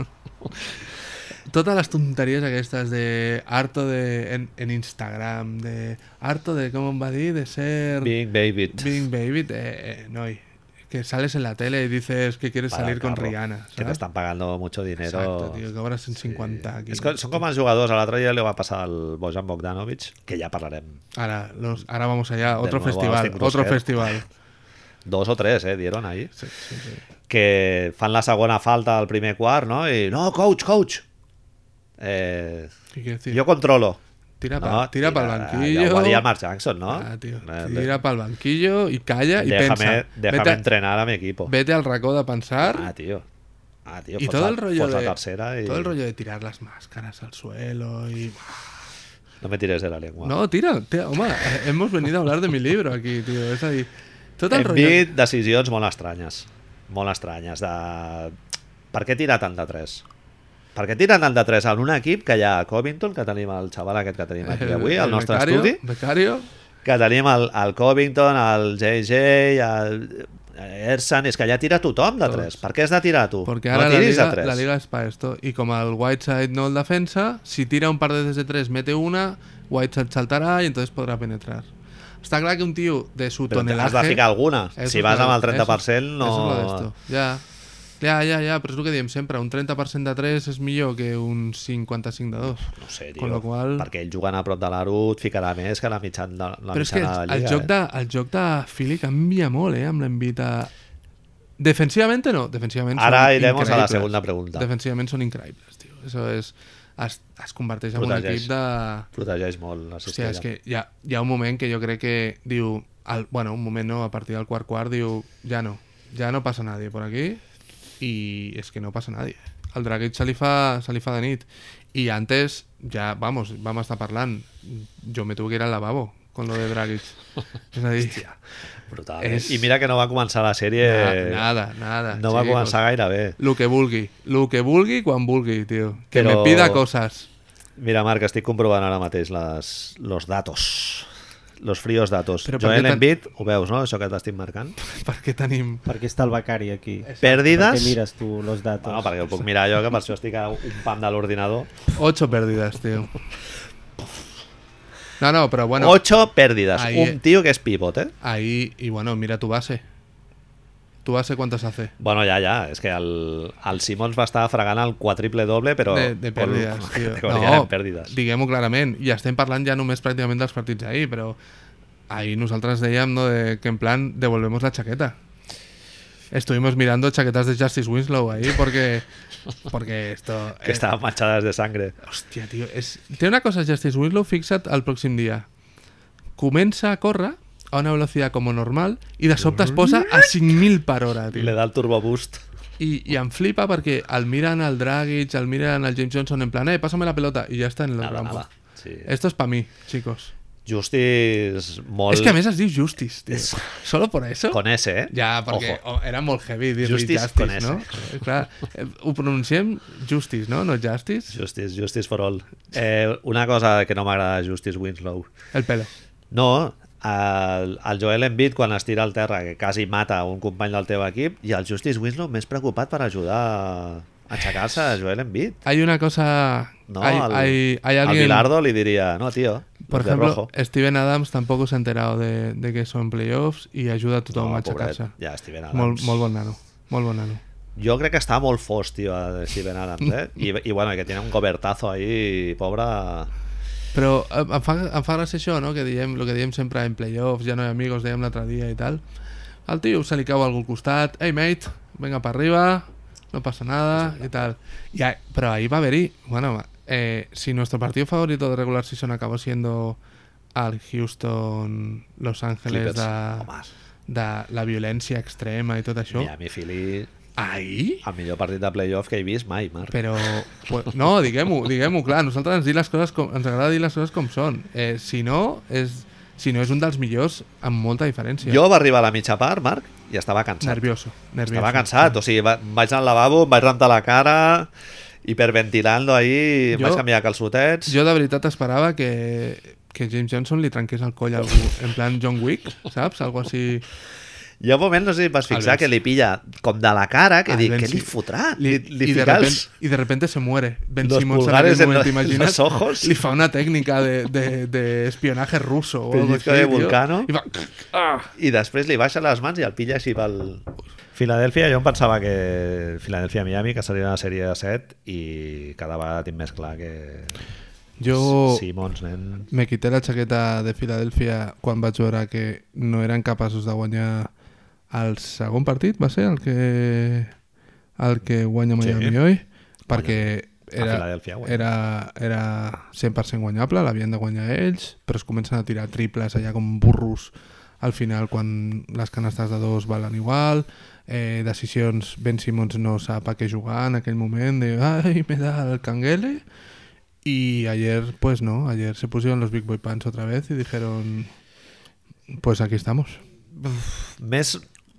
Todas las tonterías aquestes de harto de... En, en Instagram, de harto de, ¿cómo va a dir? De ser... Being baby. Being baby, eh, eh, noi. Que sales en la tele y dices que quieres Para, salir con carro, Rihanna. Que te ¿sabes? están pagando mucho dinero. Exacto, tío, que ahora son 50 aquí. És que són com els jugadors, a l'altre dia li va passar al Bojan Bogdanovic, que ja parlarem. Ahora, los, ahora vamos allá, otro nuevo este festival, Austin otro Kruger. festival. Dos o tres, eh, dieron ahí. Sí, sí, sí. Que fan la segona falta al primer quart, no? I, no, coach, coach! Eh, ¿Qué quiere decir? jo controlo. tira para No, tira pa'l Ja banquillo. ho va dir el Mark Jackson, no? Ah, tío, Eh, tira para el banquillo y calla y déjame, pensa. déjame vete, a- entrenar a mi equipo. vete al racó de pensar. Ah, tío. Ah, tío. y fots todo la- el rollo fots la de tercera y... todo el rollo de tirar las máscaras al suelo y No me tires de la lengua. no tira, tira home, eh, hemos venido a hablar de mi libro aquí tío es ahí todo el rollo Envid, decisions molt estranyes. Molt estranyes. De... Per què tirar tant de 3? Per què tirar tant de 3 en un equip que hi ha a Covington, que tenim el xaval aquest que tenim aquí avui, al nostre becario, estudi, becario que tenim el, el Covington, el JJ, el eh, Ersan, és que allà tira tothom de 3. Per què has de tirar tu? Porque No ahora la, tiris de liga, tres. la liga es para esto. Y como al Whiteside no el defensa, si tira un par de veces de tres, mete una, Whiteside saltará y entonces podrà penetrar. Está claro que un tío de su Però tonelaje... has de ficar alguna. Eso si es vas lo- amb el eso- 30% no... eso es lo de esto. Ja, ja, ja, ja, però és el que diem sempre, un 30% de 3 és millor que un 55 de 2. No sé, tio. Con lo cual- Perquè ell jugant a prop de l'Aro et ficarà més que la mitjana, la Però és que mitjana de el, la el, Lliga. joc eh? de, el joc de Philly canvia molt, eh, amb l'envit a... Defensivament no, defensivament són Ara iremos a la increïbles. segunda pregunta. Defensivament són increïbles, tio. Eso és... Es, es converteix en un Protegeix. equip de... Protegeix molt la Hòstia, cistella. és que hi ha, hi ha un moment que jo crec que diu... El, bueno, un moment no, a partir del quart quart diu ja no, ja no passa nadie por aquí i és que no passa nadie. El Dragic se li fa, se li fa de nit i antes ja, vamos, vam estar parlant jo me tuve que ir al lavabo con lo de (laughs) Dragic. És a dir, Brutal. És- És... I mira que no va començar la sèrie... na- nada, nada. Eh, No va chicos. començar gaire bé. Lo que vulgui, lo que vulgui quan vulgui, tio. Que Però- me pida coses. Mira, Marc, estic comprovant ara mateix les, los datos. Los fríos datos. Però Però per què Joel tan- Embiid, ho veus, no? Això que t'estic marcant. Perquè tenim... Perquè està el Becari aquí. Pèrdides... Perquè mires tu los datos. Bueno, perquè ho puc mirar jo, que per això estic a un pam de l'ordinador. 8 pérdidas, tío. No, no, pero bueno. Bueno, Ocho pérdidas. ahí, eh. Un tío que es pivot, ¿eh? Ahí, y bueno, mira tu base. ¿Tu base cuántas hace? Bueno, ja, ja, és que el, el Simons va estar fregant el quadriple doble, però... de, (laughs) de con- pèrdues, con tio. categoria eren pèrdues. diguem-ho clarament. I estem parlant ja només pràcticament dels partits d'ahir, però ahir nosaltres dèiem no, de, que en plan devolvemos la chaqueta. Estuvimos mirando chaquetas de Justice Winslow ahí porque, porque esto... Que eh, estaven manxades de sangre. Hòstia, tio, és... té una cosa Justice Winslow, fixa't el pròxim dia. Comença a córrer a una velocitat com normal i de sobte es posa a 5.000 per hora, I li tio. da el turbo boost. I, I em flipa perquè el miren al Dragic, el miren al James Johnson en plan, eh, pásame la pelota, i ja està en la Nada, nada. rampa. Sí. Esto es pa mi, chicos. Justice molt... És que a més es diu Justice, tio. Solo por eso. Con S, eh? Ja, perquè Ojo. oh, era molt heavy dir-li Justice, Justice con E. S. Justice no? Eh, Clar, eh, ho pronunciem Justice, no? No Justice. Justice, Justice for all. Eh, una cosa que no m'agrada de Justice Winslow. El pelo. No, el, el Joel Embiid quan es tira al terra, que quasi mata un company del teu equip, i el Justice Winslow més preocupat per ajudar a aixecar-se a Joel Embiid. Hay una cosa... No, hay, al, hay- hay al alguien... Bilardo li diria, no, tio, Por de ejemplo, rojo. Steven Adams tampoco se ha enterado de, de que son playoffs y ayuda a tothom No, a pobret. aixecar-se. Ja, Steven Adams. Molt, molt bon nano. Molt bon nano. Jo crec que està molt fos, tio, el Steven Adams, eh? I, i bueno, que tiene un gobertazo ahí, pobre... Però eh, em fa, em fa gràcia això, no? Que diem, lo que diem sempre en playoffs, ja no hi ha amigos, dèiem l'altre dia i tal. Al tio se li cau a algú al costat, hey mate, venga pa arriba, no passa nada, i tal. I, a- però ahir va haver-hi, bueno, eh, si nuestro partido favorito de regular season acabó siendo al Houston, Los Ángeles, Clippers. de, Home, de la violència extrema i tot això, Miami Philly, ahir el millor partit de playoff que he vist mai, Marc. Però, pues, no, diguem-ho, diguem-ho, clar, a nosaltres ens, dir les coses com, ens agrada dir les coses com són. Eh, si, no, és, si no és un dels millors, amb molta diferència. Jo va arribar a la mitja part, Marc, i estava cansat. Nervioso, nervioso. Estava cansat, o sigui, va, vaig anar al lavabo, em vaig rentar la cara, hiperventilando ahí, em Jo- vaig canviar calçotets. Jo... Jo de veritat esperava que, que James Johnson li trenqués el coll a algú, en plan John Wick, saps? Algo així... Hi ha un moment, no sé si et vas fixar, Albert. que li pilla com de la cara, que Al dic, Ah, Ben què li Sim- fotrà? Li, Li, li, i, de fica repente, els- y de repente se muere. Ben Los Simmons en pulgares aquel en momento, los- ¿imaginas? los ojos. Le fa una técnica de, de, de espionaje ruso o algo así, Pellizco de tío. Vulcano. Y va- I després li baixa les mans i el pilla així pel... Filadèlfia, jo em pensava que Filadèlfia-Miami, que seria una sèrie de 7 i cada vegada tinc més clar que... Yo... Simons, nen... Me quité la chaqueta de Filadèlfia quan vaig veure que no eren capaços de guanyar el segon partit, va ser el que el que guanya Sí. Miami hoy, perquè era, Filadèlfia, guanya. era, era 100% guanyable, l'havien de guanyar ells, però es comencen a tirar triples allà com burros al final quan les canastes de dos valen igual, eh, decisions Ben Simmons no sap a què jugar en aquell moment, de ai, me da el canguele, y ayer, pues no, ayer se pusieron los Big Boy Pants otra vez y dijeron, pues aquí estamos. Més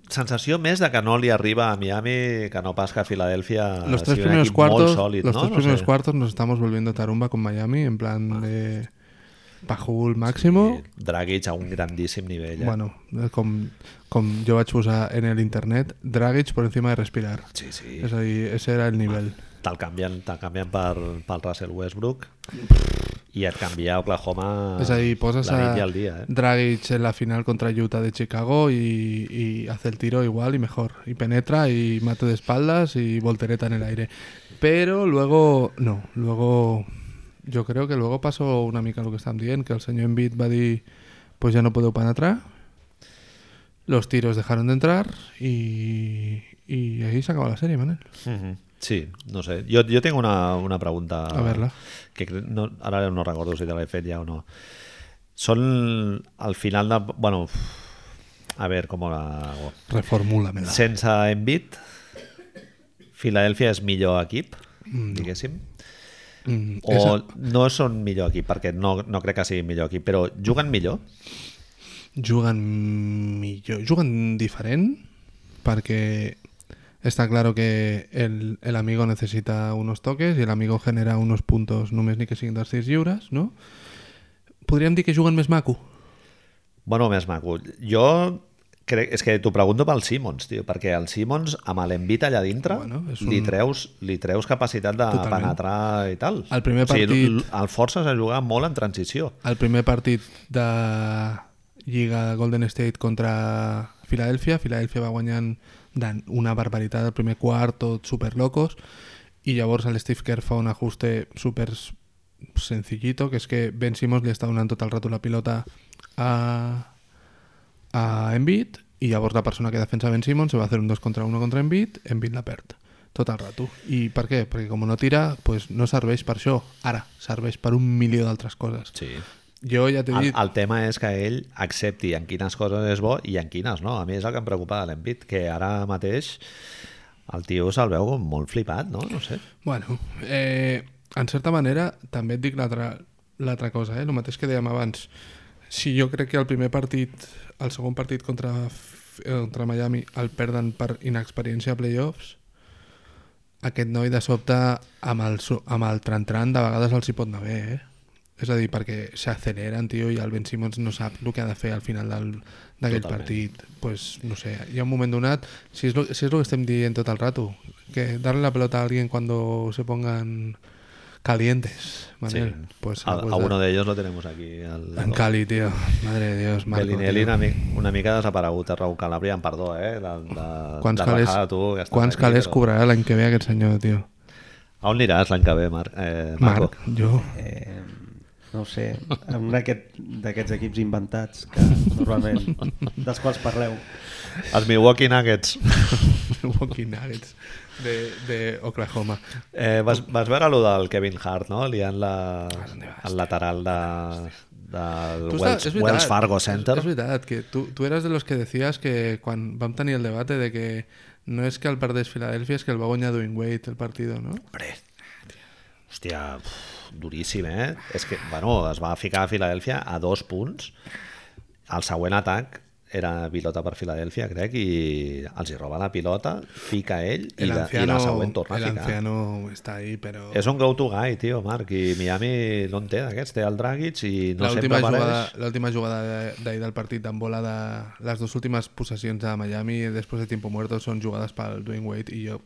sensació més de que no li arriba a Miami que no pas que a Filadèlfia los tres sigui Ah, un primeros equip molt cuartos, sòlid, los no? tres No primeros sé. Ah, cuartos nos estamos volviendo tarumba con Miami en plan de pajul máximo. I Dragic a un grandíssim nivell. Eh? Bueno, con, con yo vaig posar en el internet, Dragic por encima de respirar. sí, sí. Es a dir, ese era el nivel. Te'l canvien, te canvien per, pel Russell Westbrook i et canvia a Oklahoma Es ahí, posas la a nit i el dia. Eh? Dragic en la final contra Utah de Chicago y, y hace el tiro igual y mejor. Y penetra y mate de espaldas y voltereta en el aire. Pero luego, no, luego yo creo que luego pasó una mica lo que están bien, que el señor Embiid va a decir, pues ya no puedo para atrás. Los tiros dejaron de entrar y, y ahí se acabó la serie, Manel. Mhm. Sí, no sé. Jo, jo tinc una, una pregunta. A veure-la. Que cre- no, ara no recordo si te l'he fet ja o no. Són al final de... Bueno, uf, a veure com la hago. Reformúlamela. Sense Embiid, Filadèlfia és millor equip, diguéssim. Mm, o esa- no són millor aquí, perquè no, no crec que siguin millor aquí, però juguen millor? juguen millor, juguen diferent porque está claro que el, el amigo necesita unos toques y el amigo genera unos puntos només ni que siguin dels 6 lliures, no? Podríem dir que juguen més maco. Bueno, més maco. Jo crec, és que t'ho pregunto pel Simons, tio, perquè el Simons, amb l'envit allà dintre, bueno, Bueno, és un... li, treus, li treus capacitat de Totalment. Totalment. penetrar i tal. El primer O sigui, partit- l- el forces a jugar molt en transició. El primer partit de Lliga Golden State contra Filadèlfia, Filadèlfia va guanyant de- una barbaritat al primer quart, tot superlocos, i llavors el Steve Kerr fa un ajuste super sencillito, que és que Ben Simmons li està donant tot el rato la pilota a, a Embiid, i llavors la persona que defensa Ben Simmons se va a fer un 2 contra 1 contra Embiid, Embiid la perd tot el rato. I per què? Perquè com no tira, pues no serveix per això. Ara, serveix per un milió d'altres coses. Sí. Jo ja t'he El, dit... el tema és que ell accepti en quines coses és bo i en quines no. A mi és el que em preocupa de l'envit, que ara mateix el tio se'l veu com molt flipat, no? No sé. Bueno, eh, en certa manera, també et dic l'altra l'altra cosa, eh? el mateix que dèiem abans. Si jo crec que el primer partit, el segon partit contra, F- eh, contra Miami el perden per inexperiència a playoffs, aquest noi de sobte amb el, so- amb el tran-tran de vegades els hi pot anar bé, eh? És a dir, perquè s'aceleren, tio, i el Ben Simmons no sap el que ha de fer al final del- d'aquell Totalment. partit. pues, no sé, hi ha un moment donat, si és, lo, si és lo que estem dient tot el rato, que darle la pelota a alguien cuando se pongan calientes, Manel. Pues, a, ah, pues a da- uno de ellos lo tenemos aquí. Al, en Cali, tío. Madre de Dios, Marco. Bellinelli tio. una, mi una mica desaparegut, Raúl Calabria, em perdó, eh? De, de, Quants de calés, rajada, tu, que estàs quants aquí, calés però- cobrarà l'any que ve aquest senyor, tio? A on aniràs l'any que ve, Mar eh, Marco? Marc, jo... Eh, no ho sé, amb un aquest- d'aquests equips inventats que normalment, dels quals parleu. Els Milwaukee Nuggets. (laughs) Milwaukee Nuggets de, de Oklahoma. Eh, vas, vas veure allò del Kevin Hart, no? Liant la, Ah, el lateral de, del Tu Wells, estàs- és Wells veritat, Fargo Center. És, és veritat, que tu, tu eres de los que decías que quan vam tenir el debate de que no és que el perdés Filadèlfia, és que el va guanyar Dwayne Wade el partido, no? Hombre, hòstia, uf, duríssim, eh? És que, bueno, es va ficar a Filadèlfia a dos punts. El següent atac era pilota per Filadèlfia, crec, i els hi roba la pilota, fica ell i, la, i la següent torna a el ficar. anciano está ahí, pero... És un go-to guy, tio, Marc, i Miami no en té d'aquests, té el Dragic i no La sempre última apareix. jugada, la última jugada de- d'ahir del partit amb bola de les dues últimes possessions de Miami després de tiempo muerto són jugades pel Dwayne Wade i jo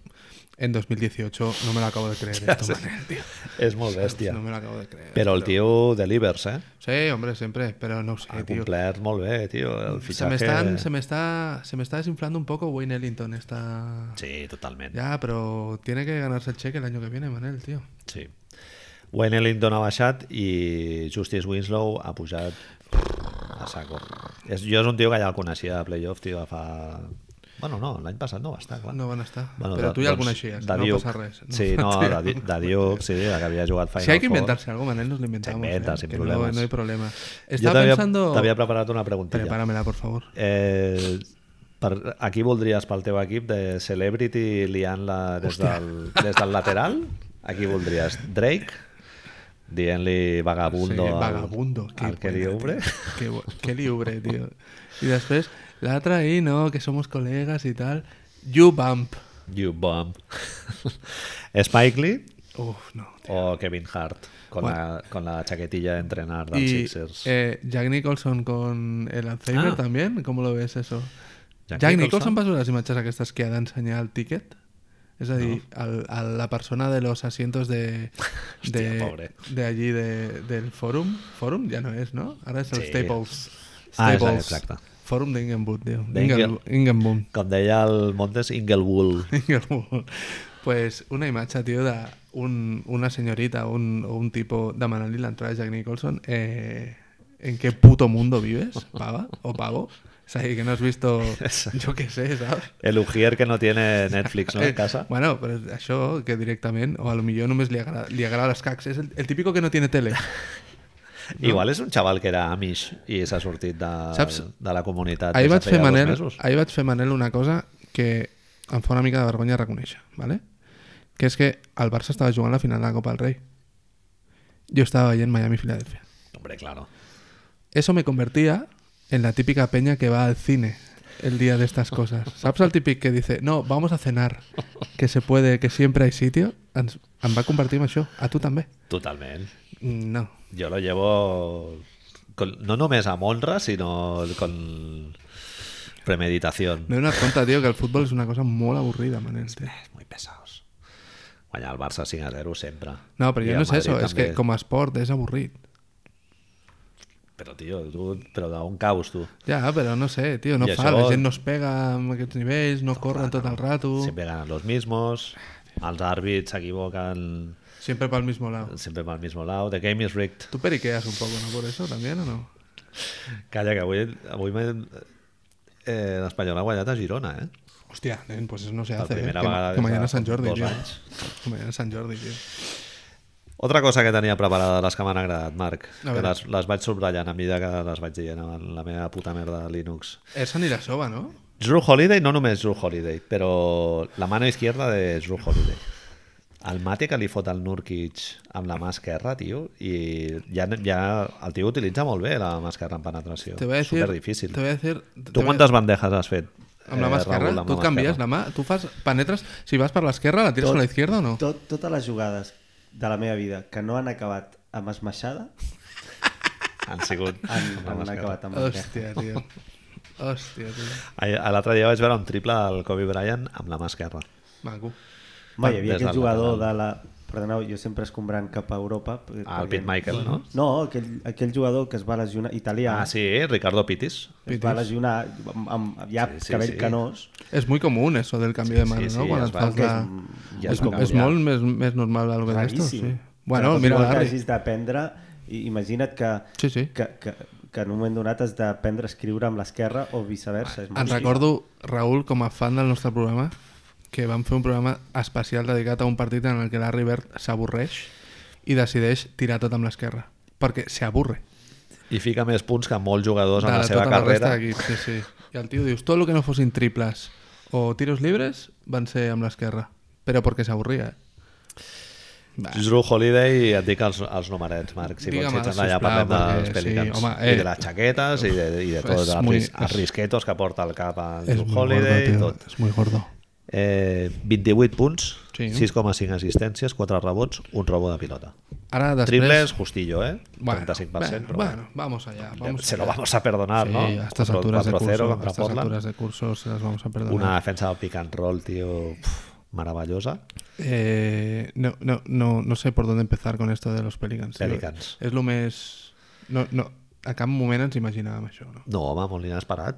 en 2018 no me l'acabo de (laughs) creer. Ja, sí. manera, tio. És molt bèstia. No me l'acabo de creer. Però el tio delivers, eh? Sí, hombre, siempre, pero no ho sé, Ha tio. complert molt bé, tio. El Se me, están, fitxatge... se, me está, se me está desinflando un poco Wayne Ellington esta... Sí, totalment. Ya, pero tiene que ganarse el cheque el año que viene, Manel, tío. Sí. Wayne Ellington ha baixat i Justice Winslow ha pujat a saco. És, jo és un tio que ja el coneixia de playoff, tio, de fa... Bueno, no, l'any passat no va estar, clar. No van a estar. pero tú ya alguna xies, no pasa res. No, (laughs) sí, no, de, Di- de Duke, sí, de que havia jugat Final Si hay que Four. inventarse algo, Manel, nos lo inventamos. inventa, ¿eh? sin Que problemas. No, no hay problema. Jo Estaba t'havia pensando... t'havia preparat una preguntilla. Prepáramela, por favor. Eh, per, aquí voldries pel teu equip de Celebrity liant-la des, del, des del lateral? Aquí voldries Drake dient-li vagabundo, Sí, al- vagabundo. qué al que li buena, obre. tío. (laughs) Qué, bu- qué libre, tío. Y después, la otra ahí, ¿no? Que somos colegas y tal. You Bump. You bomb. (laughs) Spike Lee Uf, no. o Kevin Hart con, la, con la chaquetilla de entrenar dels Y Sixers. eh, Jack Nicholson con el Alzheimer Ah. también, ¿cómo lo ves eso? Jack Jack, Nicholson Nicholson? va a las imágenes a que estas que ha de enseñar el ticket. Es decir, al- a la persona de los asientos de, (laughs) Hostia, de, pobre. de allí de- del Forum. Forum ya no es, ¿no? Ahora es el Sí. Staples. Ah, Staples. exacte, exacte. Forum de Ingenwood, tío. De Ingel- Ingel- Ingenwood. Com deia el Montes, Inglewood. (laughs) Ningú. pues una imatge, tio, de un, una senyorita o un, o un tipo demanant-li l'entrada de Jack Nicholson eh, en qué puto mundo vives, pava o pavo. O sea, que no has visto, yo qué sé, ¿sabes? El Ujier que no tiene Netflix eh, no, en casa. Bueno, pero això que directament, o a lo millor només li agrada, li agrada les cacs. És el, el típico que no tiene tele. Igual és un xaval que era Amish i s'ha sortit de, Saps? de la comunitat. Ahir des de vaig, fer feia dos Manel, mesos. ahir vaig fer Manel una cosa que em fa una mica de vergonya reconèixer, ¿vale? que és que el Barça estava jugant la final de la Copa del Rei yo estaba ahí en Miami, Filadelfia. Hombre, claro. Eso me convertía en la típica peña que va al cine el día de estas cosas. ¿Saps el típic que dice, no, vamos a cenar, que se puede, que siempre hay sitio? Ens, em va compartir amb això, a tu també. Totalment. No. Yo lo llevo con- no només amb honra, sinó con premeditación. M'he donat compte, tio, que el futbol és una cosa molt avorrida, Manel. Tio. Muy pesados. Guanyar el Barça 5 a 0 sempre. No, però I jo el no és Madrid eso, és també. que com a esport és avorrit. Però, tio, tu... Però d'on caus, tu? Ja, però no sé, tio, no I fa, això- la gent no es pega amb aquests nivells, no corren tot el rato, Sempre ganen los mismos, els àrbits s'equivoquen sempre pel mismo lado. sempre pel mismo lado, the game is rigged. Tu periqueas un poco, ¿no? Por eso también, ¿o no? Calla, que avui, avui m'he- eh, l'Espanyol ha guanyat a Girona, eh? Hostia, nen, pues eso no se Per hace. ¿eh? primera Que, vegada que des mañana de es San Jordi, dos tío. anys. Que mañana es San Jordi, tío. Otra cosa que tenia preparada de les que m'han agradat, Marc, que A veure. les, les vaig subratllant a mida que les vaig dient en la meva puta merda de Linux. Esa ni la soba, ¿no? Drew Holiday, no només Drew Holiday, però la mano izquierda de Drew Holiday. El mate que li fot al Nurkic amb la mà esquerra, tio, i ja, ja el tio utilitza molt bé la mà esquerra en penetració. Te voy a decir... Superdifícil. Te voy a decir... te Tu voy a- quantes bandejas has fet? Amb la mà eh, Raül, esquerra, amb mà tu et canvies esquerra? la mà, tu fas, penetres, si vas per l'esquerra la tires Tot- a la izquierda o no? Tot, totes les jugades de la meva vida que no han acabat amb esmaixada Han sigut han, amb la mà han esquerra. acabat amb esmaixada. Hòstia, tio. Hòstia, tio. Ai, a L'altre dia vaig veure un triple del Kobe Bryant amb la mà esquerra. Maco. Mai, hi havia Des del aquell jugador de lateral. la... Perdoneu, jo sempre escombrant cap a Europa. perquè- Ah, el perquè- Pete Michael, no? No, aquell, aquell jugador que es va lesionar, italià, Ah, sí, Ricardo Pitis. es va lesionar amb, amb ja Sí, sí, cabell sí. canós. És molt comú eso del canvi Sí, de mano, sí, no? sí, Quan es et va- fas que la... Ja és, es va mo- és canviar. molt més, més normal algo d'això, Raríssim. sí. Però Bueno, és mira igual que l'Arri. hagis d'aprendre, i imagina't que, Sí, sí. que, que, que en un moment donat has d'aprendre a escriure amb l'esquerra o viceversa. És molt Et recordo, Raül, com a fan del nostre programa, que vam fer un programa especial dedicat a un partit en el que l'Arri Bert s'avorreix i decideix tirar tot amb l'esquerra, perquè s'avorre. I fica més punts que molts jugadors en de Pues la seva tota la resta carrera. d'equips, sí, sí. I el tio dius, tot el que no fossin triples o tiros libres van ser amb l'esquerra, però perquè s'avorria. eh? Va, Drew Holiday, et dic els, els numerets, Marc, si pots, Digue'm si ets els, allà, sisplau, parlem dels perquè sí, Pelicans. home, I eh, de les xaquetes i de, i de uf, tots és els, muy- ris, els és- risquetos que porta al cap el és Drew molt Holiday i gordo, tot. tio, és molt gordo. Eh, 28 punts, Sí. 6,5 assistències, 4 rebots, un robo de pilota. Ara després... Triples, justillo, eh? Bueno, 35%, bueno, però bueno, vamos allá. Vamos se lo allá. vamos a perdonar, Sí, Ah, no? a estas Contra- alturas de 4-0 curso, a contra estas Portland. alturas de curso se las vamos a perdonar. Una defensa del pick and roll, tio, pf, meravellosa. Eh, no, no, no, no sé por dónde empezar con esto de los Pelicans. tio. Pelicans. És lo més... No, no, a cap moment ens imaginàvem això, no? No, home, molt inesperat.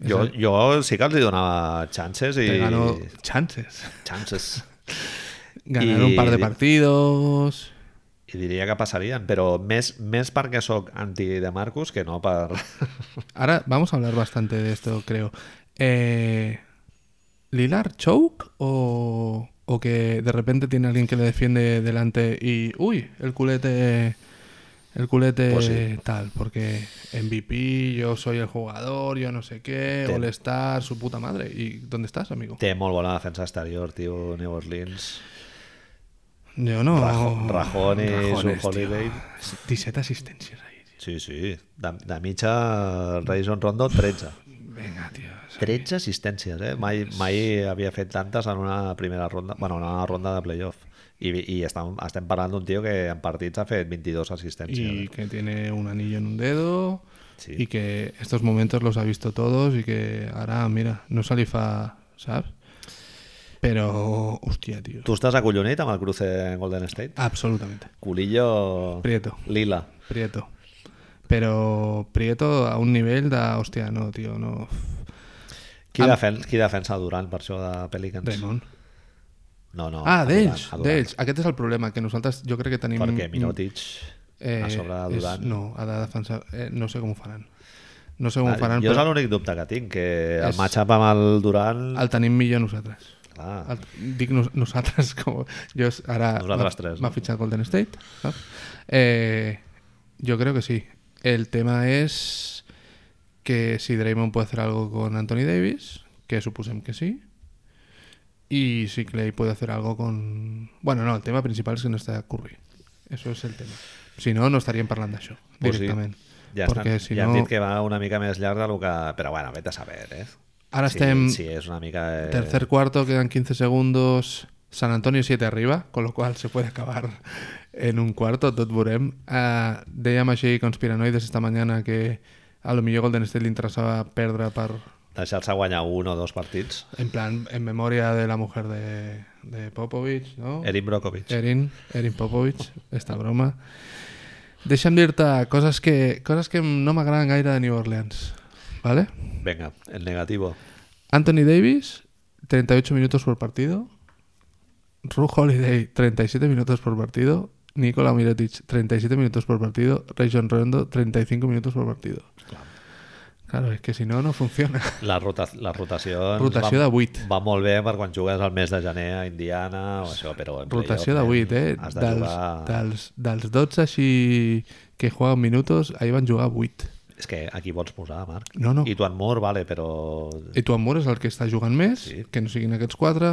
Jo, jo sí que els hi donava chances i... Te ganó chances. (laughs) Chances. Ganar I- un par de partidos... I diria que passarien, però més, més perquè sóc anti de Marcus que no (laughs) per... Ahora vamos a hablar bastante de esto, creo. Eh, ¿Lilar choke o, o que de repente tiene alguien que le defiende delante y, uy, el culete, el culete Pues sí. tal, porque MVP, yo soy el jugador, yo no sé qué, Te- All Star, su puta madre. ¿Y dónde estás, amigo? Té molt bona defensa exterior, tio, New Orleans. Yo no. Rajo- Rajones, un tío. Holiday. 17 asistencias ahí. tío. Sí, sí. De, de mitja, el Rayson Rondo, 13. Venga, tío. o sea, 13 assistències, eh? Mai, mai havia fet tantes en una primera ronda, bueno, en una ronda de playoff. I, i estem, estem parlant d'un tio que en partits ha fet 22 assistències. y eh? que tiene un anillo en un dedo Sí. y que estos momentos los ha visto todos y que ahora, mira, no salifa, ¿sabes? Pero, hostia, tío. Tu estàs acollonit amb el cruce en Golden State? Absolutamente. Culillo... Prieto, Lila. Prieto. Pero Prieto a un nivel da, hostia, no, tío, no. Qui, Am- defen qui defensa Durant per això de Pelicans? Raymond. No, no. ah, a d'ells, Durant, a Durant. d'ells. Aquest és el problema, que nosaltres jo crec que tenim... eh, Perquè Minotic a sobre de és- Durant. no, ha de defensar... Eh, no sé com ho faran. No sé com ho faran, Ah, jo és però l'únic dubte que tinc, que el És- matchup amb el Durant... el tenim millor nosaltres. Clar, El, dic Ah. nos, (laughs) nosaltres com... Jo és- ara Nosaltres m'ha- tres, m'ha no? fitxat Golden State. saps? Eh, yo creo que sí. El tema es que si Draymond puede hacer algo con Anthony Davis, que supusem que sí, y si Clay puede hacer algo con... Bueno, no, el tema principal es que no está Curry. Eso és el tema. Si no, no estaríem parlant d'això, Pues sí. directament. Ja, Perquè estan, si ja no... han dit que va una mica més llarg del que... Però bueno, vete a saber, eh? Ara Sí, estem Sí, és una mica... Eh... tercer cuarto, quedan 15 segundos. San Antonio 7 arriba, con lo cual se puede acabar en un cuarto, tot veurem. Uh, dèiem així conspiranoides esta mañana que a lo millor Golden State li interessava perdre per, Deixar-se guanyar un o dos partits. en plan, en memòria de la mujer de, de Popovich, no? Erin Brokovic. Erin, Erin Popovich, esta broma. Deixa'm dir-te coses que, coses que no m'agraden gaire de New Orleans, ¿vale? Venga, el negativo. Anthony Davis, 38 minutos por partido. Ru Holiday, 37 minutos por partido. Nikola Mirotic, 37 minutos por partido. Rajon Rondo, 35 minutos por partido. Claro, es que si no, no funciona. La, rota, la rotació... Rotació va, de vuit. Va molt bé per quan jugues al mes de gener a Indiana o això, però... en Rotació de playoff, 8, eh? Has de Dels, jugar... dels, dels 12 així que juguen minutos, ahir van jugar 8. És que aquí vols posar, Marc. No, Eh, no. I tu en Moore, vale, però... I tu, Amor, és el que està jugant més, Sí. que no siguin aquests 4.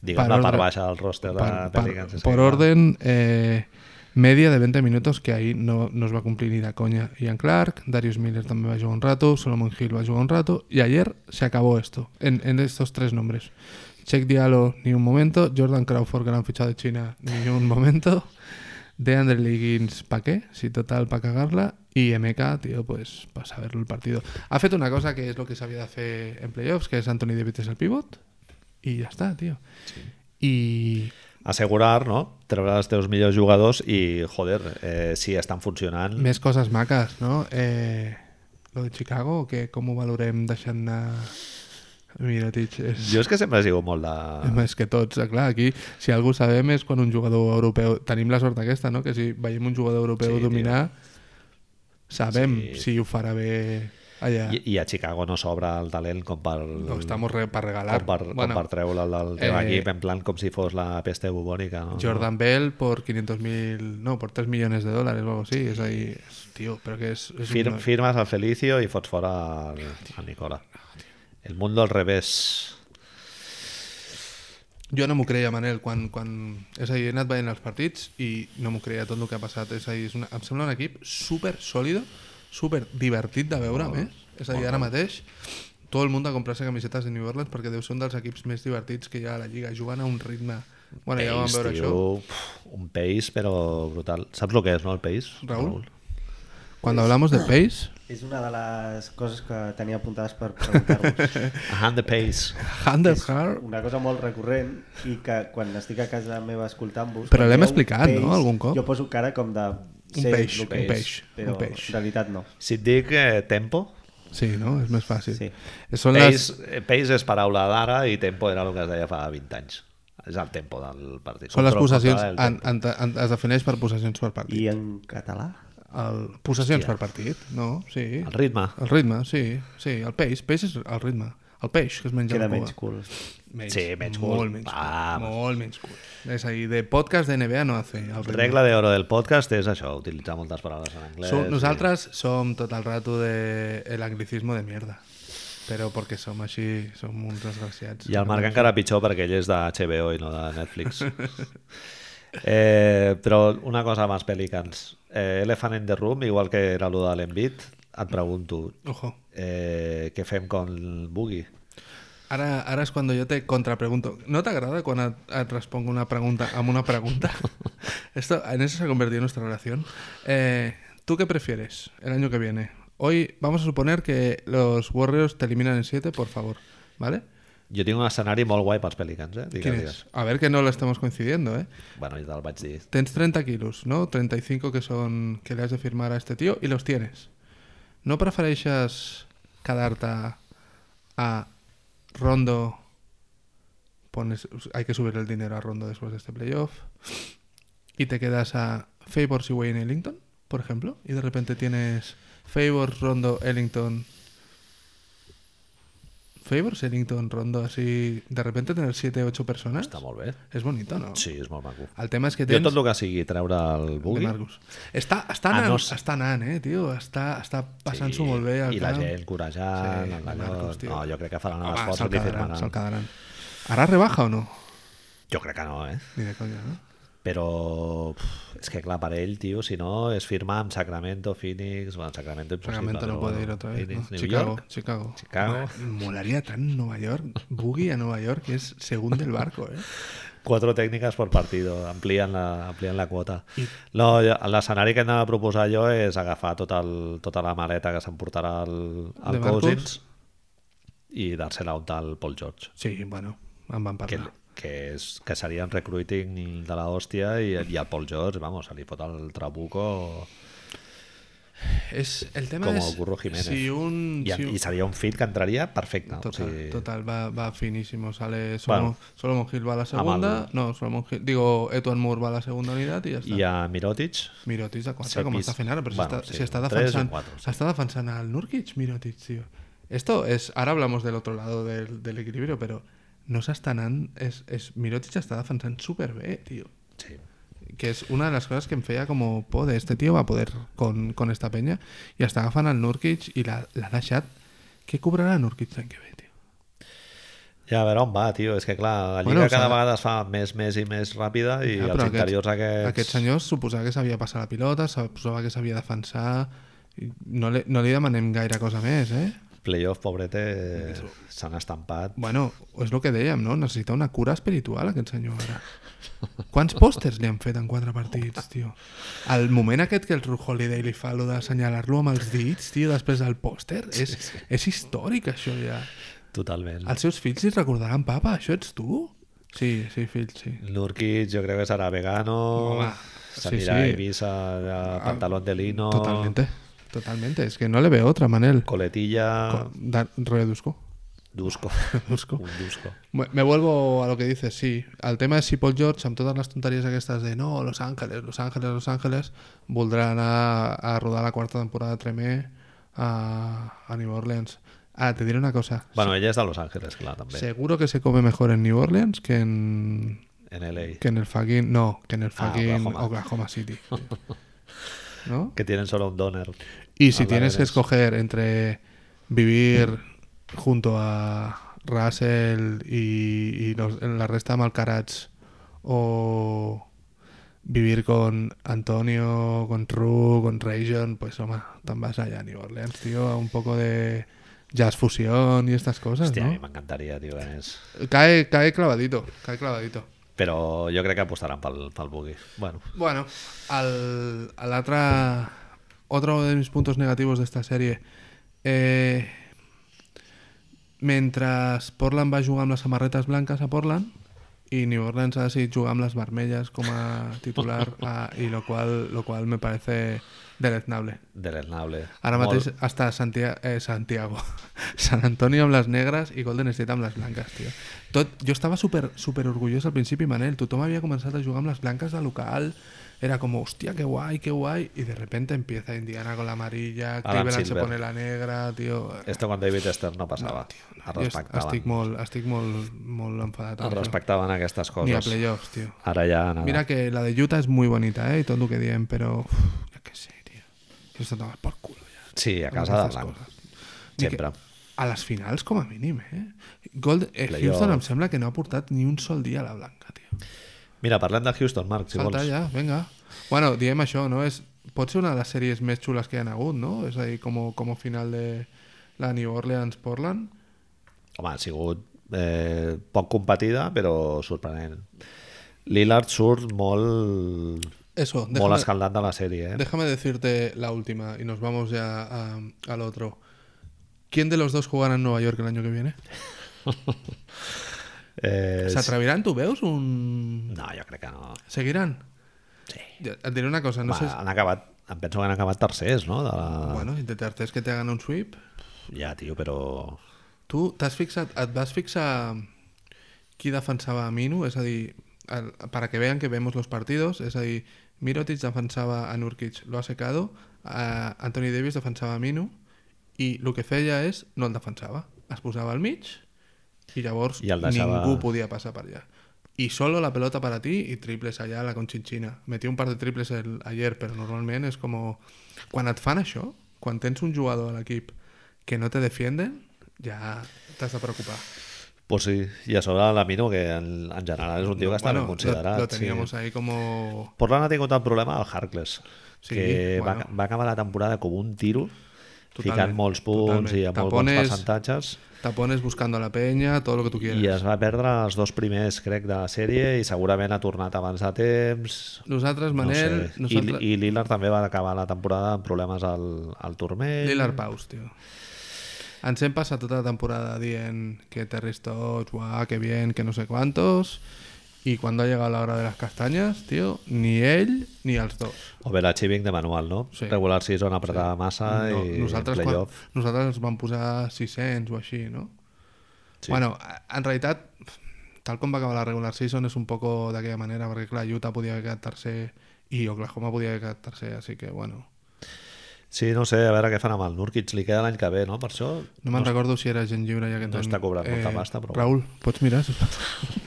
Digues la part baixa del roster de Pelicans. és por que- orden, eh, media de 20 minutos que ahí no, no es va cumplir ni la coña. Ian Clark, Darius Miller también va a jugar un rato, Solomon Hill va a jugar un rato, y ayer se acabó esto, en, en estos tres nombres. Check Diallo, ni un momento. Jordan Crawford, gran fichado de China, ni un (laughs) momento. De Andre Liggins, ¿pa' qué? Si total, para cagarla. Y MK, tío, pues para saberlo el partido. Ha hecho una cosa que es lo que sabía de hacer en playoffs, que es Anthony Davis es el pivot. Y ya está, tío. Y assegurar, no? Treure els teus millors jugadors i, joder, eh, si estan funcionant... Més coses maques, no? Eh, lo de Chicago, que com ho valorem deixant anar... Mira, Tich, és... Jo és que sempre he sigut molt és de... més que tots, eh, clar, aquí si algú sabem és quan un jugador europeu tenim la sort aquesta, no? que si veiem un jugador europeu Sí, tio. dominar sabem Sí. si ho farà bé allà, I, I a Chicago no s'obre el talent com per... no estem re per regalar com per, bueno, com per treure'l del teu eh, equip, en plan com si fos la peste bubònica, no? Jordan Bell por 500.000 no, por 3 millones de dólares o algo así, és a dir, tio, però que és, és Fir, un- firmes al Felicio i fots fora el, el Nicola. El mundo al revés. Jo no m'ho creia, Manel, quan, quan... És a dir, he anat veient els partits i no m'ho creia tot el que ha passat. És a dir, és una... em sembla un equip super sòlid, super divertit de veure, a més. És a dir, ara mateix tot el món ha comprar-se camisetes de New Orleans perquè deu ser un dels equips més divertits que hi ha a la Lliga, jugant a un ritme... Bueno, ja vam Pace, veure això. tio, pf, un pace, però brutal. Saps el que és, no, el pace? Raúl? Cuando hablamos de pace, És una de les coses que tenia apuntades per preguntar-vos. (laughs) A hand the pace. Hunter Hart... una cosa molt recurrent i que quan estic a casa meva escoltant-vos... Però quan l'hem veieu explicat, no? peix, Algun cop? Jo poso cara com de... Un sé peix, lo que un és, peix, Però un peix. en realitat no. Si et dic eh, tempo, Sí, no? És més fàcil. Sí. Són les... Pace, eh, Pace és paraula d'ara i tempo era el que es deia fa 20 anys. És el tempo del partit. Són les Control- possessions... controla el En, tempo. en, en, es defineix per possessions per partit. I en català? El... Possessions per partit, no? Sí. El ritme. El ritme, sí, sí, el peix, peix és el ritme. El peix que es menja Queda a la menys cua. cool. Menys, Sí, menys cul. Molt menys Va, cul. Molt menys cul. És a dir, de podcast de NBA no hace el ritme. Regla d'oro del podcast és això, utilitzar moltes paraules en anglès. Som, nosaltres som tot el rato de el anglicismo de mierda. Però perquè som així, som uns desgraciats. I el Marc encara pitjor perquè ell és de HBO i no de (laughs) Netflix. eh, però una cosa amb els Pelicans. Eh, Elephant in the Room, igual que era allò de l'Envit, et pregunto, Ojo. eh, què fem con Boogie? Ara, ara és quan jo te contrapregunto. ¿No te agrada quan et, et responc una pregunta amb una pregunta? Esto, en eso se ha convertido nuestra relación. Eh, ¿Tú qué prefieres el año que viene? Hoy vamos a suponer que los Warriors te eliminan en 7, por favor. ¿Vale? Jo tinc un escenari molt guai pels Pelicans, eh? Digues, ¿Quién es? A ver que no lo estamos coincidiendo, ¿eh? Bueno, ja te'l vaig dir. Tens 30 kilos, ¿no? 35 que son que le has de firmar a este tío y los tienes. ¿No prefereixes quedar-te a Rondo? Pones, hay que subir el dinero a Rondo después de este playoff. Y te quedas a Favors y Wayne Ellington, por ejemplo. Y de repente tienes Favors, Rondo, Ellington. Favors, Ellington, Rondo, así. De repente tener 7, 8 personas. Està molt bé. Es bonito, ¿no? Sí, és molt maco. El tema és que Jo tens... tot el que sigui treure el de Boogie... Marcus. Està, està, Ah, anant, no sé. està anant, eh, tio? Està, està passant-s'ho molt bé. al Ah, I la camp. gent corejant, Sí, sí, en Marcos, tio. No, jo crec que faran Home, l'esforç se'l i li quedaran, se'l firmaran. quedaran. Ara rebaja o no? Jo crec que no, eh? Ni de conya, no? però pf, és que clar, per ell, tio, si no és firmar amb Sacramento, Phoenix bueno, Sacramento impossible, Sacramento no però puede ir otra vez. ¿no? Phoenix, New Chicago, York, Chicago. Chicago. Mo- Molaría tan Nueva York. Boogie a Nueva York es según del barco, ¿eh? Cuatro tècniques per partido, amplien la, amplien la quota. No, jo- l'escenari que anava a proposar jo és agafar tot el, tota la maleta que s'emportarà el, De el Marcus? Cousins i dar-se-la un tal Paul George, Sí, bueno, en van que, parlar. que, és, que seria un recruiting de la hòstia i, i el Paul George, vamos, se li fot el trabuco Es, el tema com es el Burro Jiménez. si un... I, si un- i seria un fit que entraria perfecte. Mm, Total, o sigui, total, va, va finísimo. Sale Solomon, Bueno. Solomon Hill va a la segunda. No, Solomon Hill, digo, Etuan Moore va a la segunda unidad y ya está. I a Mirotic, Mirotic de 4, Set com piece. està fent ara, però Bueno, bueno, sí, si està un tres, defensant, un quatre, sí. està defensant al Nurkic, Mirotic, tío. Esto es, ahora hablamos del otro lado del, del equilibrio, pero no s'està anant, és, és, Mirotic està defensant superbé, tío. sí. Que es una de las cosas que me feia como poder, este tío va a poder con, con esta peña, y hasta agafant al Nurkic y la, la deixat. Què cobrarà Nurkic l'any que ve, tío? Ja, a veure on va, tio. És que, clar, la Lliga Bueno, bueno, s'ha cada de- vegada es fa més, més i més ràpida i ja, Ja, els Ah, però interiors aquests... Aquest senyor suposava que sabia passar la pilota, suposava que sabia defensar... i No li, no li demanem gaire cosa més, eh? Playoff, pobrete, eh, s'han estampat. Bueno, és el que dèiem, no? Necessita una cura espiritual, aquest senyor, ara. Quants pòsters li han fet en quatre partits, tio? El moment aquest que el Ru Holiday li fa, lo d'assenyalar-lo amb els dits, tio, després del pòster, és, és històric, això, ja. Totalment. Els seus fills li recordaran, papa, això ets tu? Sí, sí, fill, sí. Nurkic, jo crec que serà vegano, Home, s'anirà sí, sí. a Ibiza, a pantalón de lino, Totalmente, totalmente. Es que no le veo otra, Manel. coletilla, Da- Reduzco. (laughs) dusco. Dusco. Un dusco. Me me vuelvo a lo que dices, sí. Al tema de si Paul George, amb totes les tonteries aquestes de no, Los Ángeles, Los Ángeles, Los Ángeles, voldrà anar a rodar la quarta temporada de Tremé a, a New Orleans. Ah, te diré una cosa. Bueno, ella és de Los Ángeles, clar, també. Sí. Seguro que se come mejor en New Orleans que en, En LA. que en el fucking... No, que en el Ah, fucking Oklahoma. (laughs) Oklahoma. City. ¿No? Que tienen solo un doner. Y si Hablar tienes que eres. escoger entre vivir junto a Russell y, y los- la resta de Malcarats o vivir con Antonio, con Ru, con Rayson, pues toma, tan vas allá a New Orleans, tío, a un poco de jazz fusión y estas cosas, Hòstia, a mi ¿no? m'encantaria, tio, que anés. Cae, cae clavadito, cae clavadito. Però jo crec que apostaran pel, pel Boogie. Bueno, Bueno, al, al otra, otro de mis puntos negativos de esta serie. Eh, mientras Portland va jugar amb les samarretes blanques a Portland y New Orleans ha decidit jugar amb les vermelles com a titular a- y lo cual, lo cual me parece deleznable. deleznable. Ara Molt. mateix està Santia, eh, Santiago, (laughs) San Antonio amb les negres i Golden State amb les blanques, tio. Tot, jo estava super, super orgullós al principi, Manel. Tothom havia començat a jugar amb les blanques de local. Era com, hòstia, que guai, que guai. I de repente empieza Indiana con la amarilla, Adam Cleveland se Silver. pone la negra, tio. Esto con David Stern no passava. es Jo est- respectaven. estic molt, estic molt, molt enfadat. Es amb això. respectaven aquestes Ni a coses. playoffs, tio. Ara ja nada. Mira que la de Utah és muy bonita, eh, i tot el que diem, però... Uf, ja que sé, tio. Esto no va por culo, ja. Sí, a amb casa de aquestes blanc. coses. Ni que- Sempre. a les finals com a mínim, eh? Gold, eh Playoff. Houston em sembla que no ha portat ni un sol dia a la blanca, tio. Mira, parlem de Houston, Marc, si Salta vols. ja, vinga. Bueno, diem això, no? És, pot ser una de les sèries més xules que hi ha hagut, no? És a dir, com, com a final de la New Orleans-Portland. Home, ha sigut eh, poc competida, però sorprenent. Lillard surt molt, Eso, molt déjame, escaldat de la sèrie, eh? déjame decirte la última y nos vamos ya a- al otro. ¿Quién de los dos jugará en Nueva York el año que viene? eh ¿Se atreverán, tú veus, un... no, jo crec que no. ¿Seguirán? Sí. Et diré una cosa, no Home, sé... si- han acabat, em penso que han acabat tercers, no? De la... Bueno, y te tercers que te hagan un sweep. Ja, tio, però... Tu t'has fixat, et vas fixar qui defensava a Minu? És a dir, el, para que vean que vemos los partidos, és a dir, Mirotic defensava a Nurkic, lo ha secado, a Anthony Davis defensava a Minu, i el que feia és, no el defensava, es posava al mig, i llavors I el deixava- ningú podia passar per allà. I solo la pelota para ti i triples allà a la conchinchina. Metí un par de triples el, ayer, però normalment és com... Quan et fan això, quan tens un jugador a l'equip que no te defienden, ja t'has de preocupar. Pues sí, i a sobre la Mino, que en, en general és un tio que està Bueno, ben considerat. Lo, lo teníamos sí. ahí como. Portland ha tingut el problema del Harkless, Sí, que va, bueno. va acabar la temporada com un tiro, Totalment, ficant molts punts totalment. i amb molt Tapones. bons percentatges, Tapones buscando a la peña, todo lo que tú quieras. i es va perdre els dos primers, crec, de la sèrie, i segurament ha tornat abans de temps... Nosaltres, No sé. Manel, nosaltres... I, I Lillard també va acabar la temporada amb problemes al, al turmell. Lillard Paus, tio. Ens hem passat tota la temporada dient que Terry Stotts, guau, que bien, que no sé cuántos... Y cuando ha llegado la hora de las castañas, tío, ni él ni els dos. Overachieving de manual, no? Sí. Regular season apretada massa No, i nosaltres, quan, playoff. nosaltres ens vam posar 600 o així, no? Sí. Bueno, a- en realitat, tal com va acabar la regular season és un poc d'aquella manera, perquè clar, Utah podia haver quedat tercer i Oklahoma podia haver quedat tercer, així que bueno... Sí, no sé, a veure què fan amb el Nurkic. Li queda l'any que ve, no? Per això... No me'n recordo si era gent lliure ja que eh, no està cobrant molta pasta, però Raül, pots mirar? sisplau?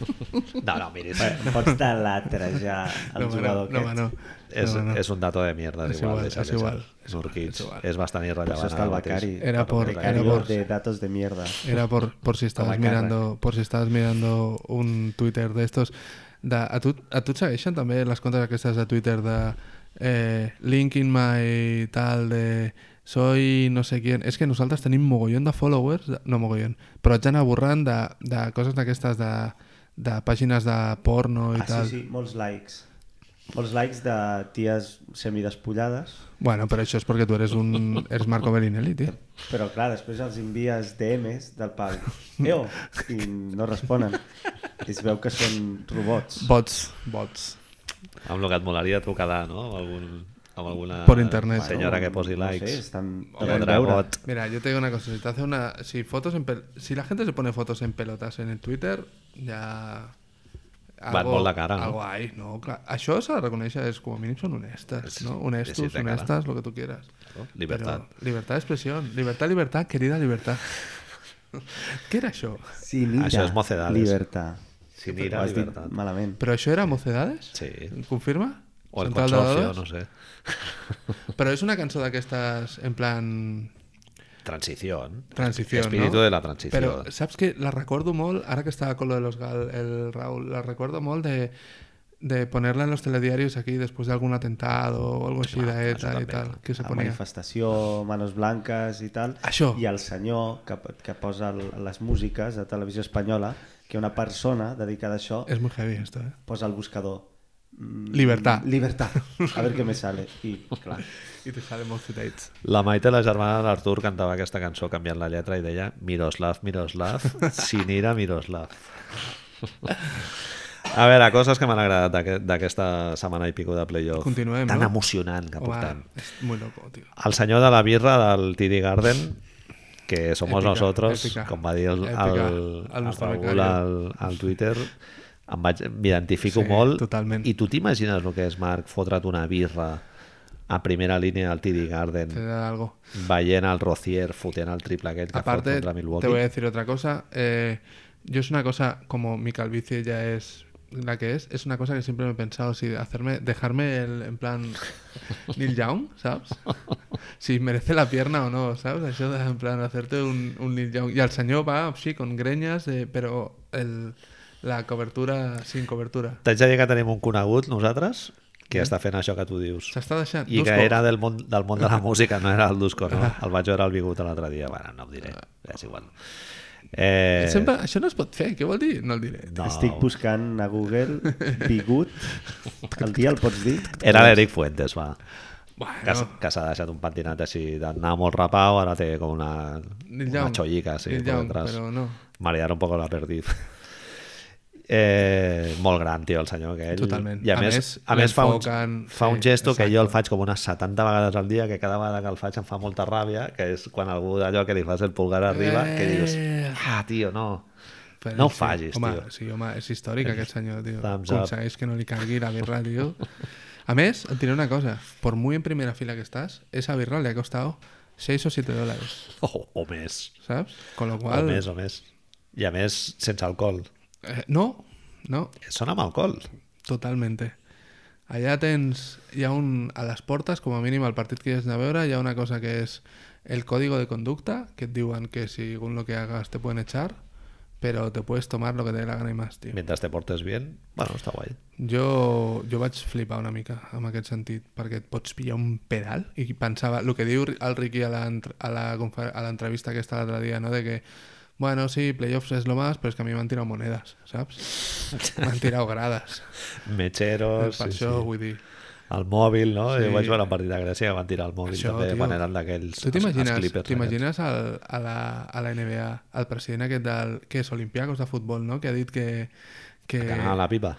No, no, miris. Eh, Pots talatrejar (laughs) el no, jugador no, aquest. no, és, no, no. és un dato de mierda, és És igual. igual, deixa, és deixa. igual, és Nurkic igual, és igual. és bastant Pues irrellevant. está el ara mateix. Becari. Era por- era Becario por- de datos de mierda. Ah, Era por, por si estabas (laughs) Com a càrrec. mirando, por si estabas mirando un Twitter d'estos. De, a, tu, a tu et segueixen també les comptes aquestes de Twitter de eh, link in my tal de soy no sé quién. És que nosaltres tenim mogollon de followers, de, no mogollon, però ets anar borrant de, de coses d'aquestes de, de pàgines de porno i Ah, sí, tal. sí, molts likes. Molts likes de ties semidespullades, Bueno, però això és perquè tu eres un... eres Marco Bellinelli, (laughs) tio. però clar, després els envies DMs del (laughs) pal. Eo! I no responen. Es veu que són robots. Bots, bots. Amb el que et molaria tu quedar, no? Amb, algun, amb alguna Por internet. senyora que posi No sé, likes. estan... O deuen veure. dragot. Mira, yo te digo una cosa, si te hace una. Si fotos en pel- si la gente se pone fotos en pelotas en el Twitter, ya. Van molt de cara, no? Algo hay, no, clar. Això s'ha de reconèixer, és com a mínim són honestes, Sí, no? sí, Honestos, sí, de cara. Oh, honestas, lo que tú quieras. Libertad. Però libertad de expresión. Libertad, libertad, querida (laughs) libertad. Què era això? Sí, mira, Això és mocedades. Libertad. Sin Ho ir a has dit libertad. malament. Però això era Mocedades? Sí. Confirma? O el Central de consorcio, dades? no sé. Però és una cançó d'aquestes, en plan... Transición. Transición, Espíritu ¿no? de la transición. Pero, ¿sabes que La recuerdo molt, ahora que estaba con lo de los Gal, el Raúl, la recuerdo molt de, de ponerla en los telediarios aquí después de algún atentado o algo así de eso ETA y también, tal, ¿no? que se La ponía. manifestació, Manos Blanques i tal. Això. I el senyor que, que posa el- les músiques de televisió espanyola, que una persona dedicada a això Es muy heavy esto, ¿eh? posa el buscador. mm, Libertad. Libertad. A ver qué me sale. I, clar, Y te sale Mocedades. La Maite, la germana de l'Artur, cantava aquesta cançó canviant la lletra i deia Miroslav, (laughs) Miroslav, Sinira, Miroslav. A veure, coses que m'han agradat d'aquest- d'aquesta setmana i pico de playoff. Continuem, Tan no? emocionant que Home, portem. es muy loco, tío. El senyor de la birra del TD Garden, que somos Épica, nosotros, épica, com va dir el, épica, el, el el, nostre Raül becari. al, al Twitter, em vaig- m'identifico Sí, molt. totalment. I tu t'imagines el que és, Marc, fotre't una birra a primera línia al TD Garden? Te da algo. veient el Rocier fotent el triple aquest que fot Aparte, contra te Milwaukee. voy a decir otra cosa. eh, yo es una cosa, como mi calvicie ya es la que es, es una cosa que siempre me he pensado, si hacerme, dejarme el, en plan (laughs) Neil Young, ¿sabes? Si merece la pierna o no, ¿sabes? Eso de, en plan hacerte un, un Neil Young. Y al señor va, sí, con greñas, eh, pero el- la cobertura sin cobertura. T'haig de dir que tenim un conegut, nosaltres, que està fent això que tu dius. S'està deixant... I Dusko. que era del món, del món de (laughs) la música, no era el Dusko, no? El vaig veure al Bigut l'altre dia. Bueno, no ho diré, és igual. Eh, Sempre, això no es pot fer, què vol dir? No el diré. no, Estic buscant a Google Bigut. El dia el pots dir? Era l'Eric Fuentes, va. Que, s- Bueno, que s'ha deixat un pentinat així d'anar molt rapau, ara té com una, Neil una Young, xollica, sí, Neil per Young, detrás. però no. marear un poco la perdiz. (laughs) Eh, molt gran, tio, el senyor aquell. Totalment. I a, A més, més, a més fa, un, l'enfoquen- fa un sí, gesto que exacte. jo el faig com unes 70 vegades al dia, que cada vegada que el faig em fa molta ràbia, que és quan algú d'allò que li fas el pulgar arriba, que dius, Eh. ah, tio, no. Però No ho sí, facis, home, (laughs) tio. Sí, home, és històric aquest senyor, tio. Thumbs up. Aconsegueix que no li cagui la (laughs) birra, tio. A més, et diré una cosa. Por muy en primera fila que estás, esa birra le ha costado 6 o 7 dólares, O, Oh, o més. ¿sabes? Con lo O cual... més, o més. I a més, sense alcohol. eh, no, no, Són amb alcohol. totalmente. Allà tens... Hi ha un... A les portes, com a mínim, al partit que hi has de veure, hi ha una cosa que és el código de conducta, que et diuen que según lo que hagas te pueden echar, però te puedes tomar lo que te dé la gana i més, tio. Mientras te portes bien, bueno, està guai. Eh, Jo, jo vaig flipar una mica en aquest sentit, perquè et pots pillar un pedal i pensava, el que diu el Ricky a l'entr- a la confer- a l'entrevista aquesta l'altre dia, no? de que bueno, sí, playoffs es lo más, pero es que a mí me han tirado monedas, saps? M'han tirat (laughs) gradas. Mecheros, per Oh, sí, això, sí. vull dir... el mòbil, no? Sí. Sí. Jo vaig veure un partit de Grècia que van tirar el mòbil Això, això, també, tio. quan eren d'aquells Tu els- els t'imagines Clippers eh? t'imagines al- a, la, a la NBA el president aquest del... que és Olimpiakos de futbol, no? Que ha dit que... que aquests. Que... a la pipa.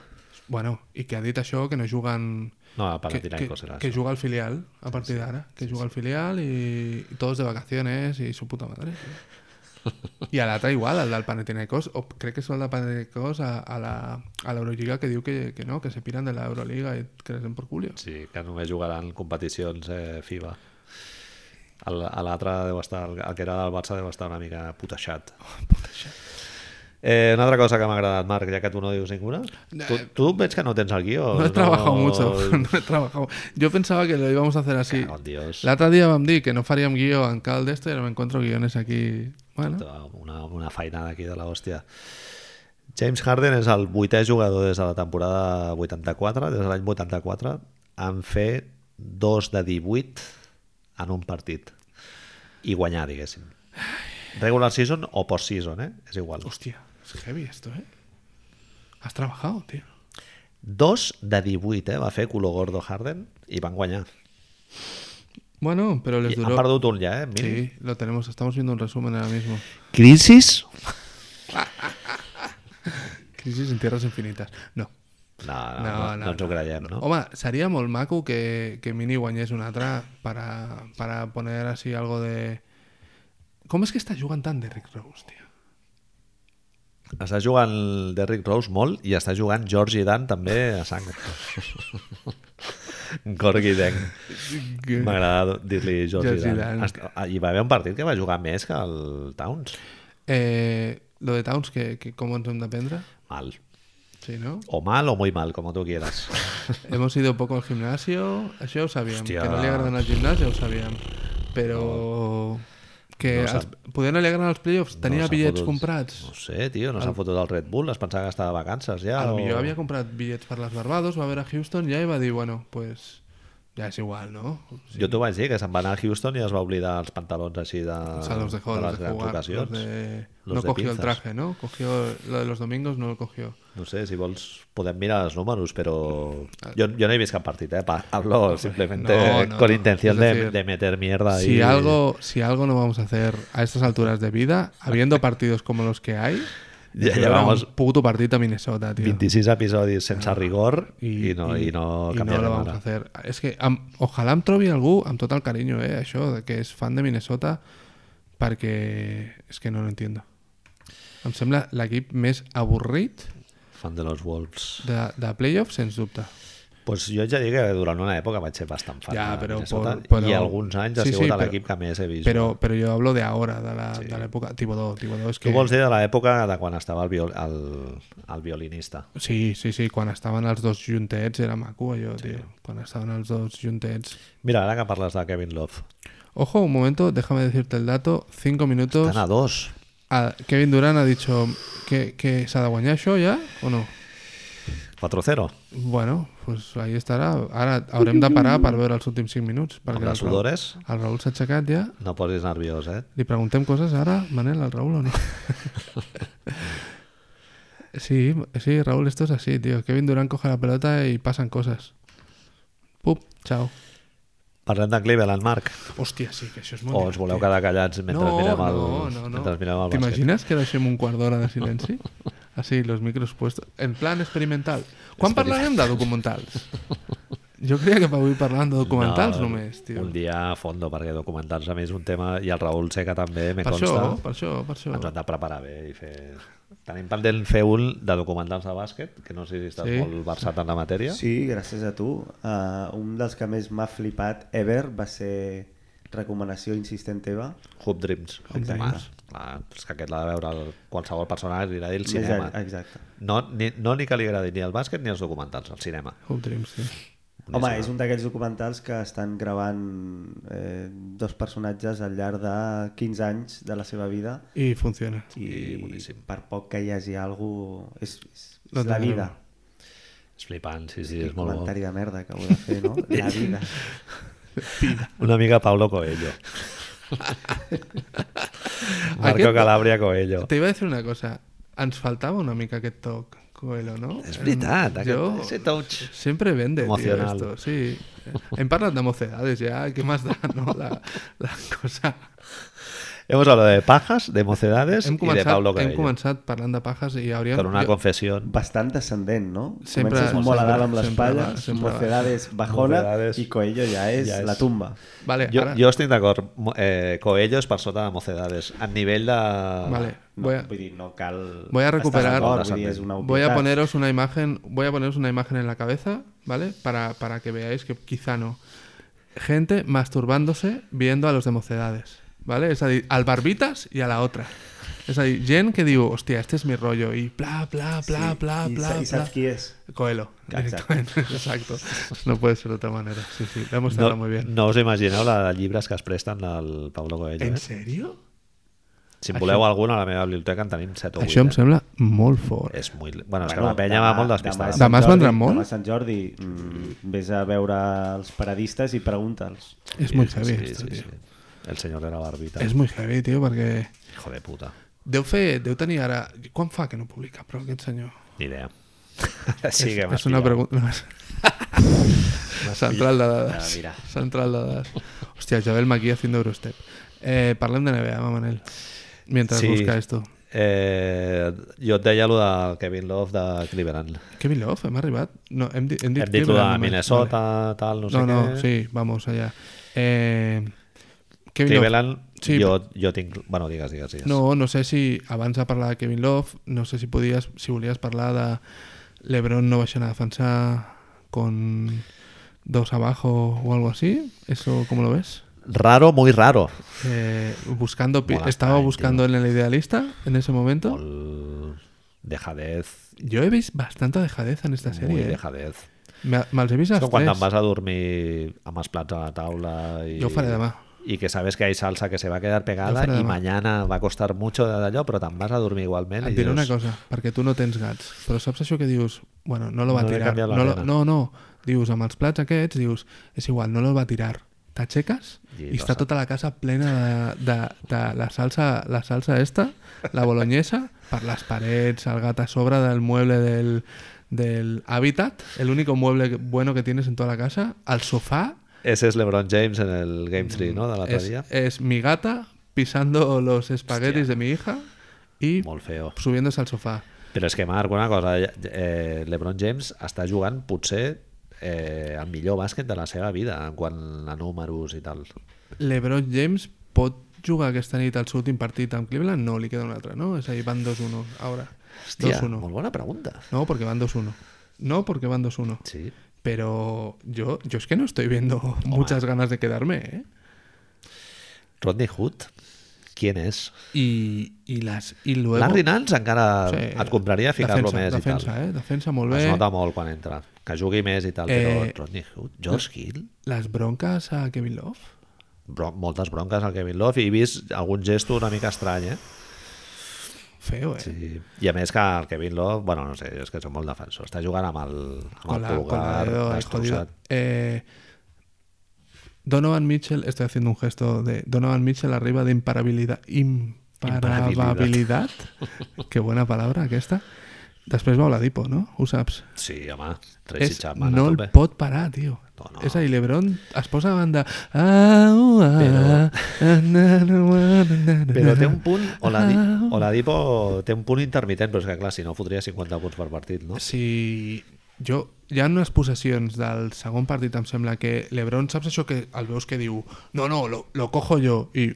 Bueno, i que ha dit això, que no juguen... No, a que, que, Panathinaikos era que això. juga al filial a partir d'ara. Que juga al filial i, i todos de vacaciones i su puta (laughs) madre. tio. I a l'altre igual, el del Panathinaikos, o crec que és el del Panathinaikos a, a la- a l'Eurolliga que diu que, que no, que se piran de l'Euroliga i que les den por culio. Sí, que només jugaran competicions eh, FIBA. El- a L'altre deu estar, el el que era del Barça deu estar una mica (laughs) putejat. Eh, una altra cosa que m'ha agradat, Marc, ja que tu no dius ninguna. Tu, tu veig que no tens el guió. Eh, No he trabajado mucho, (laughs) (laughs) no he trabajado. Yo pensaba que lo íbamos a hacer así. Cago en Dios. La otra día vam dir que no faríem guió en cal de esto y ahora me encuentro guiones aquí. Bueno, Una, una feinada aquí de la hòstia. James Harden és el vuitè jugador des de la temporada 84, des de l'any 84, en fer 2 de 18 en un partit. I guanyar, diguéssim. Regular season o post-season, eh? És igual. hostia, es heavy esto, ¿eh? Has trabajado, tío. 2 de 18, eh? Va fer color gordo Harden i van guanyar. Bueno, pero les I han duró. perdut un ja, eh? Mínim. Sí, lo tenemos, estamos viendo un resumen ahora mismo. Crisis? Crisis en tierras infinitas. No. No, no, no, no, Ah, no ens ho creiem, no? Home, sería molt maco que, que Mini guanyés una otra para, para poner así algo de... ¿Cómo es que está jugando tan Derrick Rose, tío? Està jugant Derrick Rose molt i està jugant George Dan també a (laughs) sang. Gorgi Deng. M'agrada dir-li George Georgie Dan. Dan. Est- ah, Hi va haver un partit que va jugar més que el Towns. Eh, lo de Towns, que, que ¿cómo ens hem d'aprendre? Mal. Sí, (laughs) no? O mal o muy mal, como tú quieras. Hemos ido poco al gimnasio, això ho sabíem. Hòstia. Que no li agraden al gimnàs, ja ho sabíem. Però... Que No no s'ha- els, poder no li agraden els playoffs, tenia s'ha bitllets fotut- comprats. No sé, tio, no s'ha fotut el Red Bull, es pensava que estava de vacances ja. A lo millor o... havia comprat bitllets per les Barbados, va veure a Houston ja i va dir, bueno, pues ja és igual, no? Sí. Jo t'ho vaig dir, que se'n va anar a Houston i es va oblidar els pantalons així de, O sea, los dejó, Ah, de los les dejó grans jugar. los ocasions. de- Los No de cogió el pinzas. traje, ¿no? Cogió lo de los domingos, no lo cogió. No sé, si vols podem mirar els números, però jo, jo no he vist cap partit, eh? Pa- (laughs) Hablo simplemente Ah. no, no, con no. intención Es de, decir, de meter mierda Si ahí. algo, si algo no vamos a hacer a estas alturas de vida, habiendo partidos como los que hay, (laughs) Ya es que llevamos habrá un puto partido a Minnesota, tío. Ah, 26 episodis sense rigor i, i no, i, no i canviem de lo vamos a mare. hacer. És que amb, ojalà em trobi algú amb tot el carinyo, eh, això, de que és fan de Minnesota, perquè és que no lo entiendo. Em sembla l'equip més avorrit Fan de los Wolves. de, de playoffs, sens dubte. Pues jo ja dic que durant una època vaig ser bastant fan Ja, ja, de però Minnesota por- però- i alguns anys ha sí, Sí, sí, sigut sí, però- l'equip que més he vist. jugar. Però, però jo hablo de ahora, de la- de l'època... Sí. Tibodó, Tibodó és Tu que... vols dir de l'època de quan estava el, viol, el, el violinista. Sí, sí, sí, quan estaven els dos juntets era maco allò, sí. tio. Quan estaven els dos juntets... Mira, ara que parles de Kevin Love. Ojo, un momento, déjame decirte el dato. Cinco minutos... Estan a dos. Ah, Kevin Durant ha dicho que, que s'ha de guanyar això ja o no? 4-0. Bueno, pues ahí estarà. Ara haurem de parar per veure els últims 5 minuts. Perquè Amb les el Raül- sudores. El Raül s'ha aixecat ja. No posis nerviós, eh? Li preguntem coses ara, Manel, al Raül o (laughs) no? sí, sí, Raúl, esto es así, tío. Kevin Durant coge la pelota y pasan cosas. Pup, chao. Parlem de Cleveland, Marc. Hòstia, sí, que això és molt... O us voleu divertit. quedar callats mentre no, mirem el, no, no, no. Mentre mirem el bàsquet? ¿T'imagines que deixem un quart d'hora de silenci? Así, los micros puestos. En plan experimental. Quan parlarem de documentals? Jo creia que avui parlàvem de documentals No, només, tio. Un dia a fondo, perquè documentar-se a mi és un tema... I el Raül sé que també, me Per consta. això, per això, per això. Ens ho hem de preparar bé i fer... Tenim pendent fer un de documentals de bàsquet, que no sé si estàs Sí. molt versat en la matèria. Sí, gràcies a tu. Uh, un dels que més m'ha flipat ever va ser recomanació insistent teva. Hoop Dreams. Exacte. Home, clar, és que aquest l'ha de veure el, qualsevol persona que li agradi el Més cinema. a- Exacte. No ni, no ni que li agradi ni el bàsquet ni els documentals, el cinema. Hoop Dreams, tio. Home, Boníssima. és un d'aquells documentals que estan gravant eh, dos personatges al llarg de 15 anys de la seva vida Y funciona. i, I boníssim. per poc que hi hagi algú... És, és, és No la tindrem. vida. És flipant, sí, sí, Quin és molt comentari bo. de merda que heu de fer, (laughs) no? La vida. Una mica Pablo (laughs) Coelho. Marco Aquest- Calabria Coelho. Te iba a decir una cosa. Ens faltaba una mica que toc, Coelho, no? És veritat, Em- aquest, jo- ese touch. Siempre vende, tío, Emocional. esto, sí. En parlas de mocedades ya, ¿qué más da, no? La, la cosa... Hemos hablado de pajas, de mocedades Hem y de començat, Pablo hem Coelho. començat parlant de pajas i hauríem... Con una jo- confesión. Bastant descendent, no? Sempre- Comences molt a dalt amb les sempre- palles, sempre- mocedades bajona Mocedades. i Coello ja és, Ja és. la tumba. Vale, Jo, ara- jo estic d'acord. Mo- Eh, Coelho és per sota de mocedades. A nivell de... Vale, No, voy a, Vull dir, no cal... Voy a estar recuperar- d'acord, vull dir, és una voy a obvietat. poneros una imagen, voy a poneros una imagen en la cabeza, ¿vale? Para, para que veáis que quizá no. Gente masturbándose viendo a los de mocedades, ¿vale? Es decir, al barbitas y a la otra. Es decir, Jen que digo, hostia, este es mi rollo y bla, bla, bla, Sí, bla, i, bla, sa- I bla. saps qui és? Coelho, Exacto. directamente, (laughs) exacto. No puede ser de otra manera. Sí, sí, lo hemos tratado No, pues muy bien. no us imagineu la de llibres que es presten al Pablo Coelho. ¿En Eh? serio? Si en voleu algun, a la meva biblioteca en tenim 7 o 8. Això em sembla molt fort. És muy... Bueno, és que la penya va molt despistada. Demà es Sant vendran Jordi- molt? Demà és Sant Jordi, mm, vés a veure els paradistes i pregunta'ls. Es Sí, muy sí, heavy este sí, esto, sí, tío. sí. El senyor era barbita. Es muy heavy, tío, porque... Hijo de puta. Deu fer... Deu tenir ara... Quan fa que no publica, però aquest senyor? Ni (laughs) idea. sí que és, m'has és una pillat. pregunta... (laughs) (laughs) No, és- Central de dades. Ah, mira. Central de dades. Hòstia, Joel Maquí haciendo Eurostep. Eh, parlem de NBA, va, Manel. Mientras Sí. busca esto. Eh, jo et deia allò del Kevin Love de Cleveland. Kevin Love, hem arribat? No, hem, di hem dit... Hem dit allò Cleveland de només. Minnesota, Vale. tal, no sé No, no, què. sí, vamos allá. Eh, Kevin Love. Cleveland, Sí, jo, jo tinc... Bueno, digues, digues, digues. No, no sé si abans de parlar de Kevin Love, no sé si podies, si volies parlar de LeBron no baixant a defensar con dos abajo o algo así. ¿Eso cómo lo ves? Raro, muy raro. Eh, buscando pi- Mola, estaba ay, buscando en el idealista en ese momento. Molt dejadez, Yo he visto bastante dejadez en esta muy serie. eh. dejadez. Me- Me'ls he vist És els com quan tres. te'n em vas a dormir amb els plats a la taula i, Jo ho faré demà. i que sabes que hay salsa que se va a quedar pegada Jo ho faré i demà. mañana va a costar mucho d'allò, però te'n vas a dormir igualment. Et i diré Ah, una Eh, dius, cosa, perquè tu no tens gats, però saps això que dius, bueno, no lo va No l'he tirar, canviat la no, lo, arena. no, no, dius, amb els plats aquests, dius, és igual, no lo va tirar, t'aixeques I i, no està sap. tota la casa plena de, de, de la, salsa, la salsa esta, la boloñesa, per les parets, el gat a sobre del mueble del, del hábitat, el único mueble que- bueno que tienes en toda la casa, el sofà, Ese es LeBron James en el Game 3, no?, de l'altre Mm, es, eh, dia. es mi gata pisando los espaguetis de mi hija y Molt feo. subiéndose al sofá. Però és que, Marc, una cosa, eh, LeBron James està jugant potser eh, el millor bàsquet de la seva vida en quant a números i tal. LeBron James pot jugar aquesta nit al seu últim partit amb Cleveland? No, li queda un altre, no? És a dir, van 2-1 ara. Hòstia, 2-1. molt bona pregunta. No, porque van 2-1. No, porque van 2-1. Sí. Pero yo, yo es que no estoy viendo muchas ganas de quedarme, ¿eh? Rodney Hood, ¿quién és? Y, y las y luego... Larry Nance encara Sí. sí. et compraria ficar-lo Defensa, més i defensa, tal. eh? Defensa molt Es bé. nota molt quan entra. Que jugui més i tal, però Eh, Rodney Hood, George Hill, Las broncas a Kevin Love. bro moltes bronques al Kevin Love i he vist algun gesto una mica estrany, eh? Feo, ¿eh? Sí. I a més que el Kevin Love, bueno, no sé, jo és que soc molt defensor. Està jugant amb el, amb con el la, con la pulgar dedo ahí jodido. destrossat. Eh, Donovan Mitchell, estoy haciendo un gesto de Donovan Mitchell arriba de imparabilidad. Imparabilidad. Qué buena palabra que esta. Després va Oladipo, no? Ho saps? Sí, home, Tracy És, és, Chapman no a el tope. pot parar, tio. No, no. És ahí, Lebron es posa a banda... Au, Però- ah, ah, na, na, na, na, na. Però té un punt, (laughs) Oladi, Ah. Oladipo té un punt intermitent, però és que clar, si no fotria 50 punts per partit, no? si jo, hi ha unes possessions del segon partit, em sembla que Lebron, saps això que el veus que diu no, no, lo, lo cojo jo i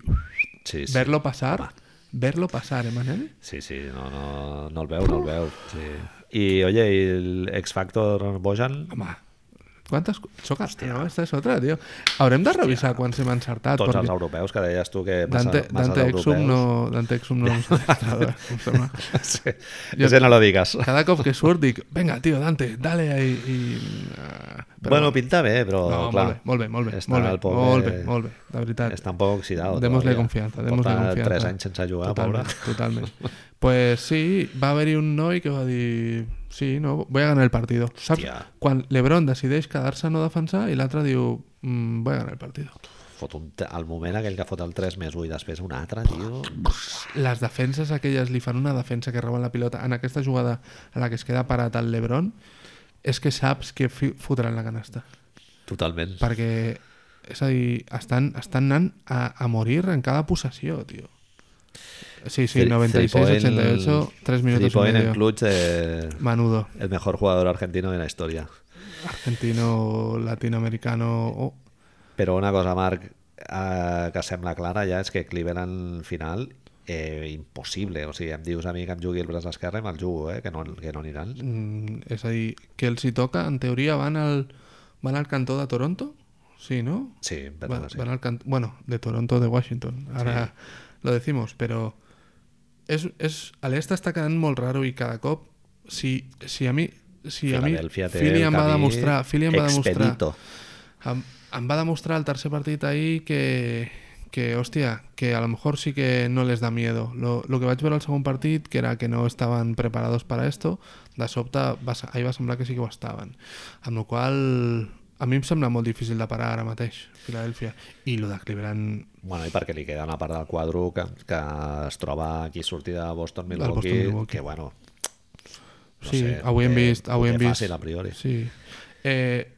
Sí, sí. ver-lo passar ver-lo passar, eh, Manel? Sí, sí, no, no, no el veu, no el veu. Sí. I, oye, i el X-Factor Bojan, Home, quantes... co- Soc Hòstia. no, esta és otra, tio. Haurem de revisar quan s'hem encertat. tots els perquè europeus, que deies tu que massa, Dante, massa Dante Exum d'europeus... no... Dante Exum no... ens ha encertat, eh, em sembla. (laughs) Sí. Jo- Ese no lo digas. Cada cop que surt dic, venga, tio, Dante, dale ahí. I, uh, Però bueno, pinta bé, però no, clar, molt bé, molt bé, molt bé, està molt bé, el pobre- molt bé, molt bé, de veritat. està un poc oxidat. Demos-li confiança, demos-li confiança. tres anys sense jugar, Totalment, pobre. totalment. Pues sí, va haver-hi un noi que va dir sí, no, voy a ganar el partido. Saps? Hòstia. Quan Lebron decideix quedar-se a no defensar i l'altre diu mm, voy a ganar el partido. Fot un, t- al moment aquell que fot el 3 més 8, després un altre, tio. Les defenses aquelles li fan una defensa que roben la pilota. En aquesta jugada a la que es queda parat el Lebron és que saps que fi- fotran la canasta. Totalment. Perquè, és a dir, estan, estan anant a, a morir en cada possessió, tio. Sí, sí, Three- 96, three point- 88, 3 minutos three y point en medio. clutch, eh, Manudo, el mejor jugador argentino de la historia. argentino, latinoamericano... Oh, Però una cosa, Marc, eh, que sembla clara ja és que Cleveland final eh, impossible. O sigui, em dius a mi que em jugui el braç esquerre, me'l jugo, eh, que no, que no aniran. mm, és a dir, que els hi toca, en teoria, van al, van al cantó de Toronto? Sí, no? Sí, em Van, penso que sí. van al can- Bueno, de Toronto, de Washington. Ahora lo decimos, pero es, es, a l'est està quedant molt raro i cada cop, si, si a mi... Si a mi, Filadèlfia té Philly el em va camí demostrar, Philly em va demostrar, expedito. em, em va demostrar el tercer partit ahir que, que, hòstia, que a lo mejor sí que no les da miedo. Lo, lo que vaig veure al segon partit, que era que no estaven preparats per a esto, de sobte va, se- ahir va semblar que sí que ho estaven. Amb la qual a mi em sembla molt difícil de parar ara mateix, Filadèlfia. I lo de Cleveland... Bueno, i perquè li queda una part del quadro que, que es troba aquí sortida de Boston Milwaukee, Boston, Milwaukee. que bueno, No sí, sé, avui hem eh, vist... Avui ho hem té vist fàcil, a priori. Sí. Eh,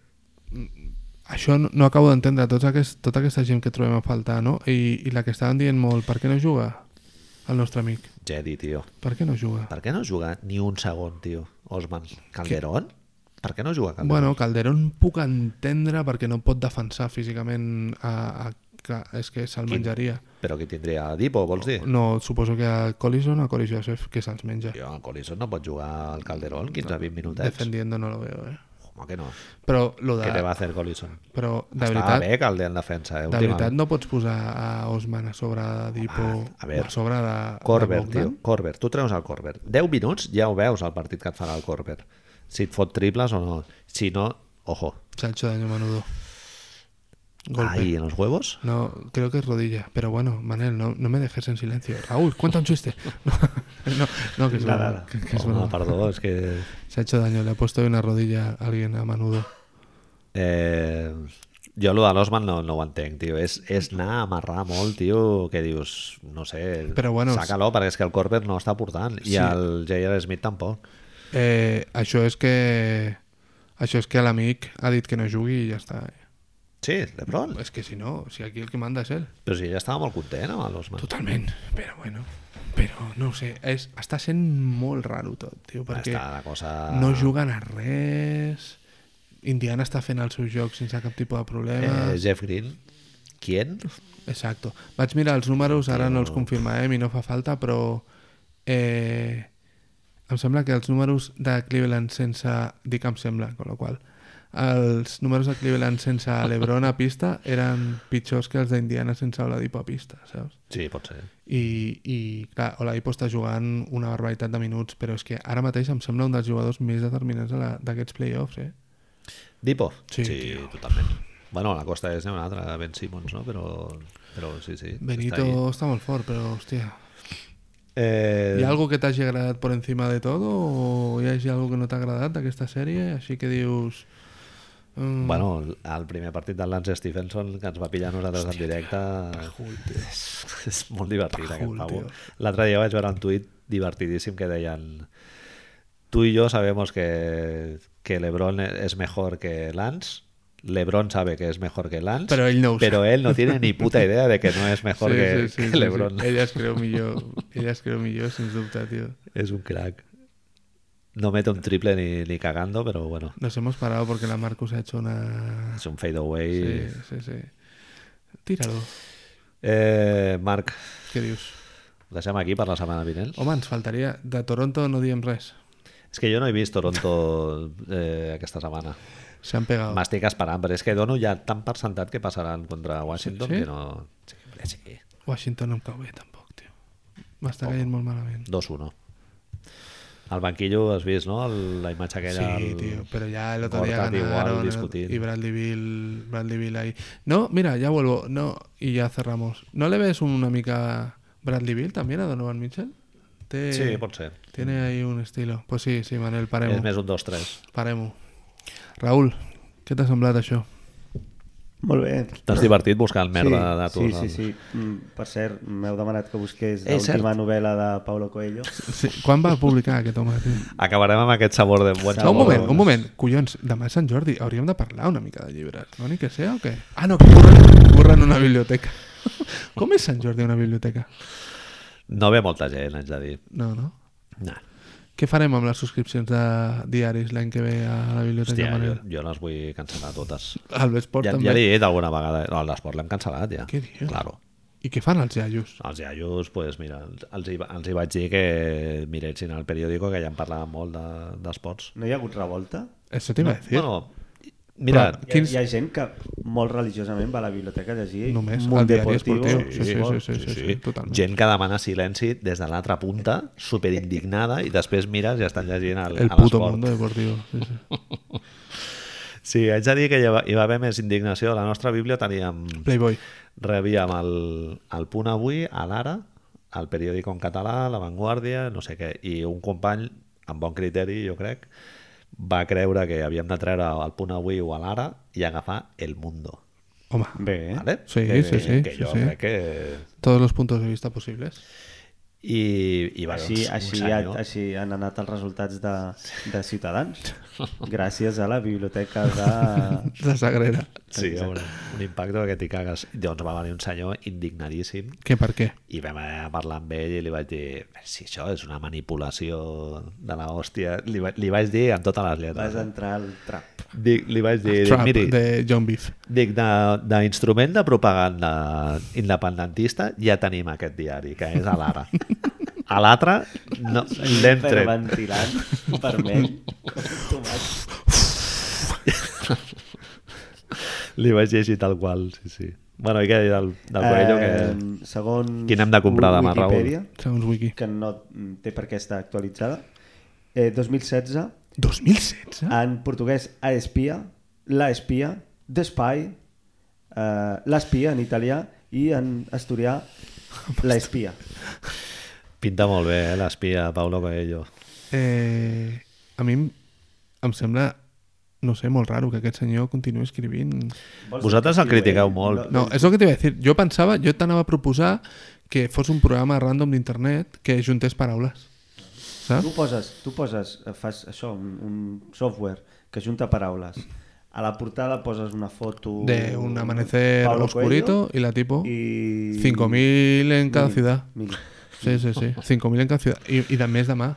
mm, això no, no acabo d'entendre, tots aquest, tota aquesta gent que trobem a faltar, no? I, I la que estaven dient molt, per què no juga el nostre amic? Jedi, tio. Per què no juga? Per què no juga ni un segon, tio? Osman. Calderón? Per què no juga Calderón? Bueno, Calderón puc entendre perquè no pot defensar físicament a, a, que és que se'l menjaria. Però qui tindria? Dipo, vols dir? No, suposo que a Collison o a Cory Joseph que se'ls menja. Tio, el Collison no pot jugar al Calderón 15 20 minutets. Defendiendo no lo veo, eh? Home, que no. Però, lo Què te de, va fer Collison? però de Estava veritat, bé Calderón en defensa, eh, de veritat últimament. no pots posar a Osman a sobre de Dipo, Home, a veure. a sobre de, Corber, de tio, Bogdan. Corber. Tu treus el Corber. 10 minuts ja ho veus el partit que et farà el Corber. Si et fot triples o no. Si no, ojo. Se ha hecho daño menudo. Golpe. Ahí, en los huevos. No, creo que es rodilla. Pero bueno, Manel, no, no me dejes en silencio. Raúl, cuenta un chiste. (laughs) no, no, que es Nada, broma, nada. que- que es Home, broma. perdó, és que... Se ha hecho daño, le ha puesto una rodilla a alguien a menudo. Eh, jo allò de l'Osman no, no ho entenc, tio. És, és anar a amarrar molt, tio, que dius, no sé, Però bueno, saca-lo, perquè és que el Corber no està portant, Sí. i el J.R. Smith tampoc. Eh, això és que... Això és que a l'amic ha dit que no jugui i ja està. Sí, Lebron. És que si no, si aquí el que manda és ell. Però si ella estava molt content amb l'Osman. Totalment, però bueno. Però no ho sé, és, està sent molt raro tot, tio, perquè Està ah. la cosa... no juguen a res... Indiana està fent el seu joc sense cap tipus de problema. Eh, Jeff Green. Quién? Exacto. Vaig mirar els números, ara no els confirmarem i no fa falta, però eh, em sembla que els números de Cleveland sense... Dic em sembla, con lo qual els números de Cleveland sense l'Ebron a pista eren pitjors que els d'Indiana sense Oladipo a pista, saps? Sí, pot ser. I, i clar, Oladipo està jugant una barbaritat de minuts, però és que ara mateix em sembla un dels jugadors més determinants de la- d'aquests playoffs, eh? Dipo? Sí, sí tio. totalment. Bueno, la costa és una altra, Ben Simmons, no? Però, però sí, sí. està Benito ahí. està, molt fort, però hòstia... Eh, Hi ha algo que t'hagi agradat per encima de tot o hi hagi algo que no t'ha agradat d'aquesta sèrie? Així que dius... Mm, Bueno, el primer partit del Lance Stephenson que ens va pillar a nosaltres en directe Pajul, tio. és, és molt divertit Pajul, aquest pavo. tio. L'altre dia vaig veure un tuit divertidíssim que deien tu y yo sabemos que, que Lebron es mejor que Lance Lebron sabe que es mejor que Lance Pero él no usa. pero él no tiene ni puta idea de que no es (laughs) mejor que, que Lebron Sí. Ella es creu millor, ella es creu millor, sens dubte, tio. es un crack no mete un triple ni, ni cagando pero bueno Nos hemos parado porque la Marcus ha hecho una... es un fadeaway Sí, sí, sí. Tíralo. eh, Marc Què dius? ho deixem aquí per la setmana vinent Home, ens faltaria... De Toronto no diem res. És que jo no he vist Toronto eh, aquesta setmana. S'han pegat. M'estic esperant, però és que dono ja tan per sentat que passaran contra Washington Sí? que no... Sí, hombre, sí. Washington no em cau bé, tampoc, tio. M'està caient molt malament. 2-1. Al banquillo has vist, no? El, la imatge aquella... Sí, el- tio, pero ya el otro Gortat día igual, ganaron discutir. y Bradley Bill, Bradley Bill ahí. No, mira, ya vuelvo, no y ya cerramos. ¿No le ves una mica Bradley Bill también a Donovan Mitchell? Té- Sí, pot ser. Tiene ahí un estilo. Pues sí, sí, Manel, parem És més un 2-3. Parem-ho. Raül, què t'ha semblat això? Molt bé. T'has divertit buscant merda de tu. doncs. sí, sí, sí. Mm, per cert, m'heu demanat que busqués Eh, l'última cert. novel·la de Paulo Coelho. Sí, quan va publicar aquest home? Tio? Acabarem amb aquest sabor de bon No, un moment, un moment. Collons, demà és Sant Jordi, hauríem de parlar una mica de llibres, no? Ni que sea o què? Ah, no, que curren, curren una biblioteca. (laughs) Com és Sant Jordi a una biblioteca? No ve molta gent, haig de dir. No, no? No. Què farem amb les subscripcions de diaris l'any que ve a la biblioteca? Hòstia, jo, Manel? jo les vull cancel·lar totes. Al Vesport Ja, també. ja l'he dit alguna vegada. No, l'esport l'hem cancel·lat, ja. Què dius? Claro. I què fan els iaios? Els iaios, pues, mira, els, els, hi, va- els hi vaig dir que miressin el periòdico, que ja en parlaven molt de- d'esports. No hi ha hagut revolta? Això t'hi va a De, dir. bueno, mira, Però- Hi ha, Quins- hi ha gent que molt religiosament va a la biblioteca a llegir Només Munt al diari Deportivo, esportiu. Sí, sí, Futbol. sí, sí, sí, sí, totalment. gent que demana silenci des de l'altra punta, superindignada, i després mires i estan llegint el, El a puto l'esport. mundo deportivo. Sí, sí. Sí, haig de dir que hi va, hi va haver més indignació. A la nostra Bíblia teníem... Playboy. Rebíem el, el Punt Avui, a l'Ara, el periòdico en català, La Vanguardia, no sé què, i un company, amb bon criteri, jo crec, va creure que havíem de treure el Punt Avui o a l'Ara i agafar El Mundo. Home, Bé, eh? ¿vale? Sí, que, sí, sí, Que sí, jo sí. crec que... todos los puntos de vista posibles. I, i va, Així, doncs, així, un ha, senyor- així han anat els resultats de, de Ciutadans (laughs) gràcies a la biblioteca de... La Sagrera. Sí, un, un impacte que t'hi cagues. Doncs va venir un senyor indignadíssim Què, per què? i vam anar a parlar amb ell i li vaig dir si això és una manipulació de la hòstia, li, va, li vaig dir amb totes les Vas lletres. eh. entrar al trap. Dic, li vaig dir, dic, Trap miri, de... de John Beef. dic, de- d'instrument de, propaganda independentista ja tenim aquest diari, que és a l'ara. A l'altre no, l'hem tret. (laughs) Hiperventilant, vermell. Li vaig llegir tal qual, sí, sí. Bueno, i què dir del, del Coelho, que... Eh, segons Quin hem de comprar demà, Raül? Wikipedia, Segons Wiki. que no té per què estar actualitzada, eh, 2016 2016? En portuguès, a espia, la espia, d'espai, eh, l'espia en italià i en asturià, la espia. Pinta molt bé, eh, l'espia, Paulo Coelho. Eh, a mi em, em sembla, no sé, molt raro que aquest senyor continuï escrivint. Vosaltres el critiqueu Eh, molt. No, és el que t'hi va a dir. Jo pensava, jo t'anava a proposar que fos un programa random d'internet que juntés paraules. Tu Saps? poses, tu poses, eh, fas això, un, un software que junta paraules. A la portada poses una foto... De un amanecer Paulo oscurito Coelho y la tipo... i... 5.000 en cada Mil, ciudad. mil. Sí, sí, sí. 5.000 en cada ciudad. I, i de més demà.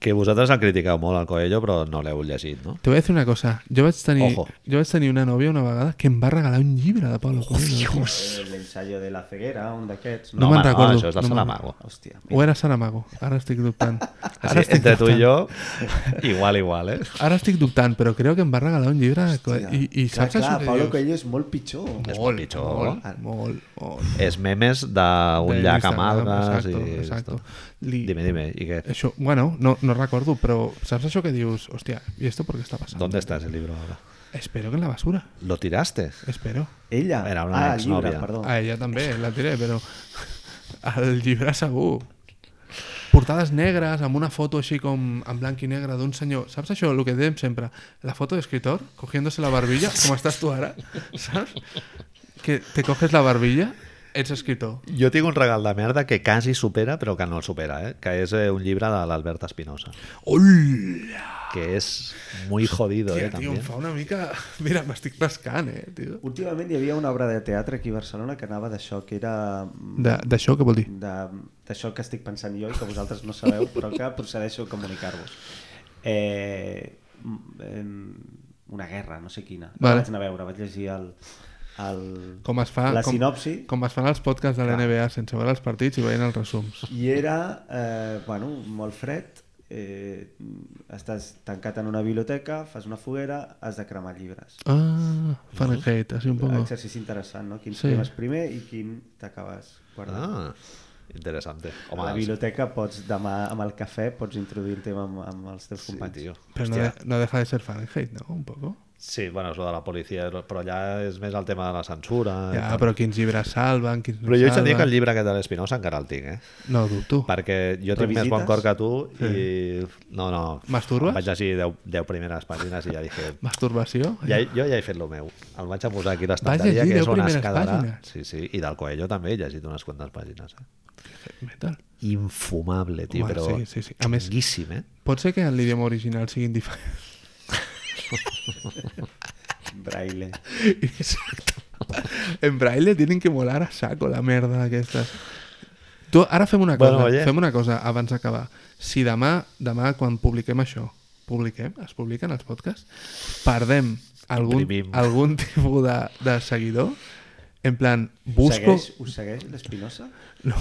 Que vosaltres el critiqueu molt, al Coelho, però no l'heu llegit, no? Te voy a decir una cosa. Yo vaig tenir, Ojo. jo vaig tenir una novia una vegada que em va regalar un llibre de Pablo Coelho. Eh, L'ensayo de la ceguera, un d'aquests. No home, me'n recordo, això és de no me'n- Salamago. Hòstia. O era Saramago. Ara estic dubtant. Ara Ara estic entre tu i dubtant. jo, (laughs) igual, igual, eh? Ara estic dubtant, però crec que em va regalar un llibre de Coelho. Hòstia. I, i clar, saps clar, això que Paulo dius? Coelho és molt pitjor. És molt Molt, pitjor, molt, no? molt, molt. És memes d'un Del llac a Instagram, Malgas i... Exacto, exacto. Li, Dime, dime, ¿y qué? Això, bueno, no, no recordo, però saps això que dius? Hòstia, i esto por qué está pasando? ¿Dónde está ese libro ahora? Espero que en la basura. ¿Lo tiraste? Espero. Ella? Era una ah, llibre, exnòvia. perdó. A ella també, la tiré, però (laughs) el llibre segur. Portades negres, amb una foto així com en blanc i negre d'un senyor. Saps això, el que dèiem sempre? La foto d'escritor, cogiéndose la barbilla, com estàs tu ara, (laughs) saps? Que te coges la barbilla, ets escritor. Jo tinc un regal de merda que quasi supera, però que no el supera, eh? que és eh, un llibre de l'Albert Espinosa, Hola! que és muy jodido, eh, Tia, tio, també. em fa una mica... Mira, m'estic pescant, eh, tio. Últimament hi havia una obra de teatre aquí a Barcelona que anava d'això, que era mm, D'això què vol dir? de- d'això que estic pensant jo i que vosaltres no sabeu, però que procedeixo a comunicar-vos. Eh, mm, em, una guerra, no sé quina. Vale. Vaig anar a veure, vaig llegir el, el, Com es fa... la com, sinopsi Com es fan els podcasts de la NBA sense veure els partits i veient els resums. i era eh, bueno, molt fred, eh, estàs tancat en una biblioteca, fas una foguera, has de cremar llibres. Ah, Fahrenheit, així un poco. Exercici interessant, no? Quin Sí. sí. primer i quin t'acabes guardant. Ah, Interessante. Home, a la biblioteca pots, demà amb el cafè, pots introduir el tema amb, amb els teus Sí, companys. tio. Pero no, de- no deja de ser Fahrenheit, ¿no? Un poco. Sí, bueno, és lo de la policia, però allà és més el tema de la censura. ¿eh? i Ja, tal. però quins llibres salven, quins Ah, no però jo haig de dir que el salven... llibre aquest de l'Espinosa encara el tinc, eh? No ho dubto. Perquè jo tinc més Revisites? bon cor que tu i... No, no. Masturbes? Em Vaig llegir 10, 10 primeres pàgines i ja dije... Masturbació? Ja, jo ja he fet el meu. El vaig a posar aquí a Vas l'estanteria, que llegir és deu on es primeres quedarà. pàgines? Sí, sí. I del Coelho també he llegit unes quantes pàgines. Eh? Metal. Infumable, tio, Home, però sí, sí, sí. A més- xunguíssim, eh? Pot ser que en l'idioma original siguin diferents. (laughs) Braille. en braille tienen que molar a saco la merda aquesta. Tu, ara fem una cosa, Bueno, oye. fem una cosa abans d'acabar. Si demà, demà quan publiquem això, publiquem, es publiquen els podcasts, perdem algun, Imprimim. algun (laughs) tipus de, de seguidor, en plan, busco... Segueix, us segueix l'Espinosa? No,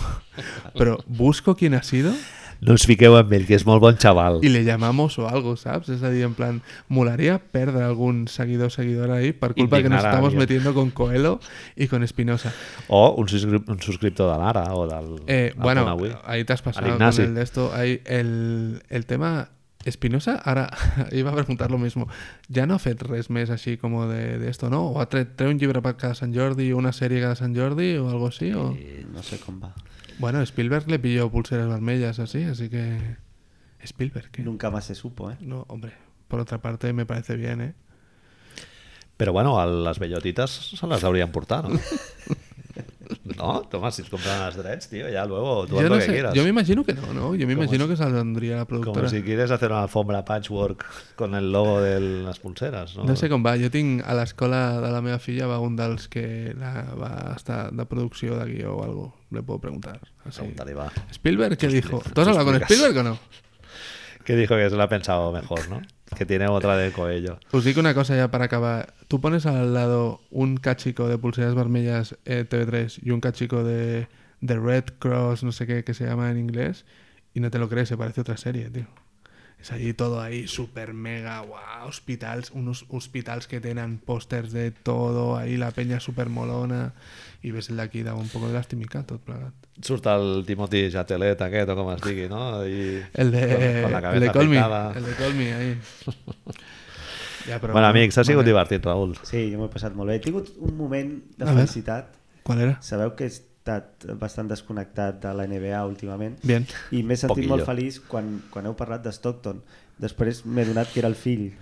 però busco quién ha sido No us fiqueu amb ell, que és molt bon xaval. y le llamamos o algo, ¿sabes? Es decir, en plan, molaría perder algún seguidor seguidor ahí por culpa de que nos Indignar a estamos alguien. metiendo con Coelho y con Espinosa. O un, subscri un subscriptor de l'Ara o del... Eh, del bueno, Pon Avui. ahí te has pasado Ah, Al con Ignasi. el de esto. Ahí el, el tema Espinosa, ahora (laughs) iba a preguntar lo mismo. Ja no ha fet res més així com de, de esto, no? O ha tret, treu un llibre per cada Sant Jordi, una sèrie cada Sant Jordi o algo así? O... Eh. No sé com va. Bueno, Spielberg le pilló pulseras vermelhas así, así que... Spielberg, ¿qué? Nunca más se supo, eh? No, hombre. Por otra parte, me parece bien, ¿eh? Però bueno, el, les bellotites se les haurien portat, (laughs) no? no? Toma, si et compren els drets, tio, ja, luego, tu Yo, haz no lo que sé, quieras. yo me imagino que no, ¿no? Yo me imagino que saldría la productora. Como si quieres hacer una alfombra patchwork con el logo de las pulseras, ¿no? No sé com va, jo tinc a l'escola de la meva filla va un dels que la, va estar de producció de guió o algo, le puedo preguntar. Así. Preguntaré, va. Spielberg, ¿qué dijo? ¿Tú has hablado con explicas. Spielberg o no? Que dijo que se lo ha pensado mejor, ¿no? Que tiene otra de Coello. Os digo Pues una cosa ya para acabar. Tú pones al lado un cachico de pulseras vermellas eh, TV3 y un cachico de, de Red Cross, no sé qué, que se llama en inglés, y no te lo crees, se parece otra serie, tío. Es allí todo ahí, super mega, wow, hospitales, unos hospitales que tengan pósters de todo, ahí la peña super molona, y ves el de aquí, daba un poco de lastimica, tot plegat. Surt el Timothy Chatelet aquest o com es digui, no? I El de, con la el de cabeza Colmy, pintada. el de Colmy, (laughs) ahí. Ja, però- Bueno, amics, ha sigut Vale. divertit, Raül. Sí, jo m'ho he passat molt bé. He tingut un moment de A ver. felicitat. ¿Cuál era? Sabeu que he estat bastant desconnectat de la NBA últimament. Bien. I m'he sentit Poquillo. molt feliç quan, quan heu parlat de Stockton. Després m'he donat que era (laughs) el fill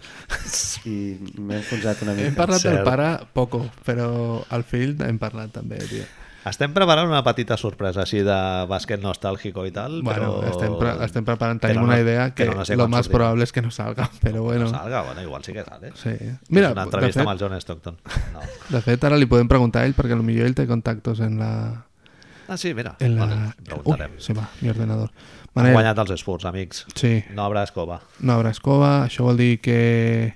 i m'he enfonsat una Hem (laughs) mica. parlat del Cert. pare poco, però al fill hem parlat també, tio. Estem preparant una petita sorpresa així de bàsquet nostàlgico i tal, Bueno, però... estem, pre estem preparant, tenim però una no- idea que però no sé lo quan más sortirà. probable es que no salga, (laughs) però bueno. No salga, bueno, igual sí que sale. Sí. Mira, Mira, és una de entrevista fet, amb el John Stockton. No. de fet, ara li podem preguntar a ell perquè potser ell té contactos en la... Ah, sí, mira. En la... Vale, Ui, preguntarem. se va, mi ordenador. Han Manel, guanyat els Spurs, amics. Sí, No habrá escoba. no habrà escova, això vol dir que eh,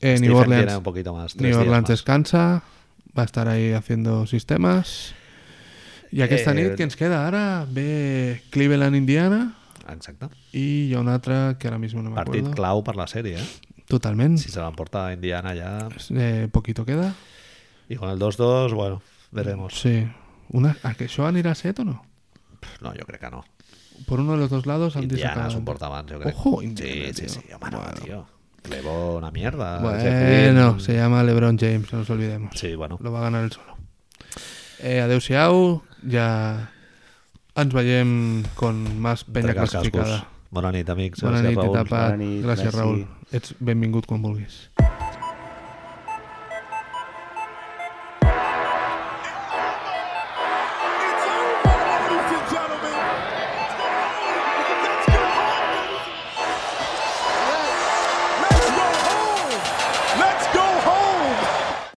Stephen New Orleans, tiene un poquito más. tres New días Orleans más. descansa, va a estar ahí haciendo sistemas. I aquesta Eh, nit que ens queda ara ve Cleveland, Indiana Exacto. i hi ha una altra que ara mismo no me Partit acuerdo. clau per la sèrie, eh? Totalment. Si se l'emporta a Indiana ja... Eh, poquito queda. I con el 2-2, bueno, veremos. Sí. Una, ¿A que això anirà a set o no? No, jo crec que no. Por uno de los dos lados han Indiana disacabado. s'ho porta abans, jo crec. Ojo, Indiana, Sí, tio. sí, sí, home, no, tio. Clevo, una mierda. Bueno, Jeff Green. se llama LeBron James, no nos olvidemos. Sí, bueno. Lo va ganar el solo. Eh, adeu-siau, ja ens veiem con más penya Entregar els classificada. cascos. Bona nit, amics. Bona Gràcies, nit i Raül. tapat. Bona nit, Gràcies, merci. Raül. Ets benvingut quan vulguis.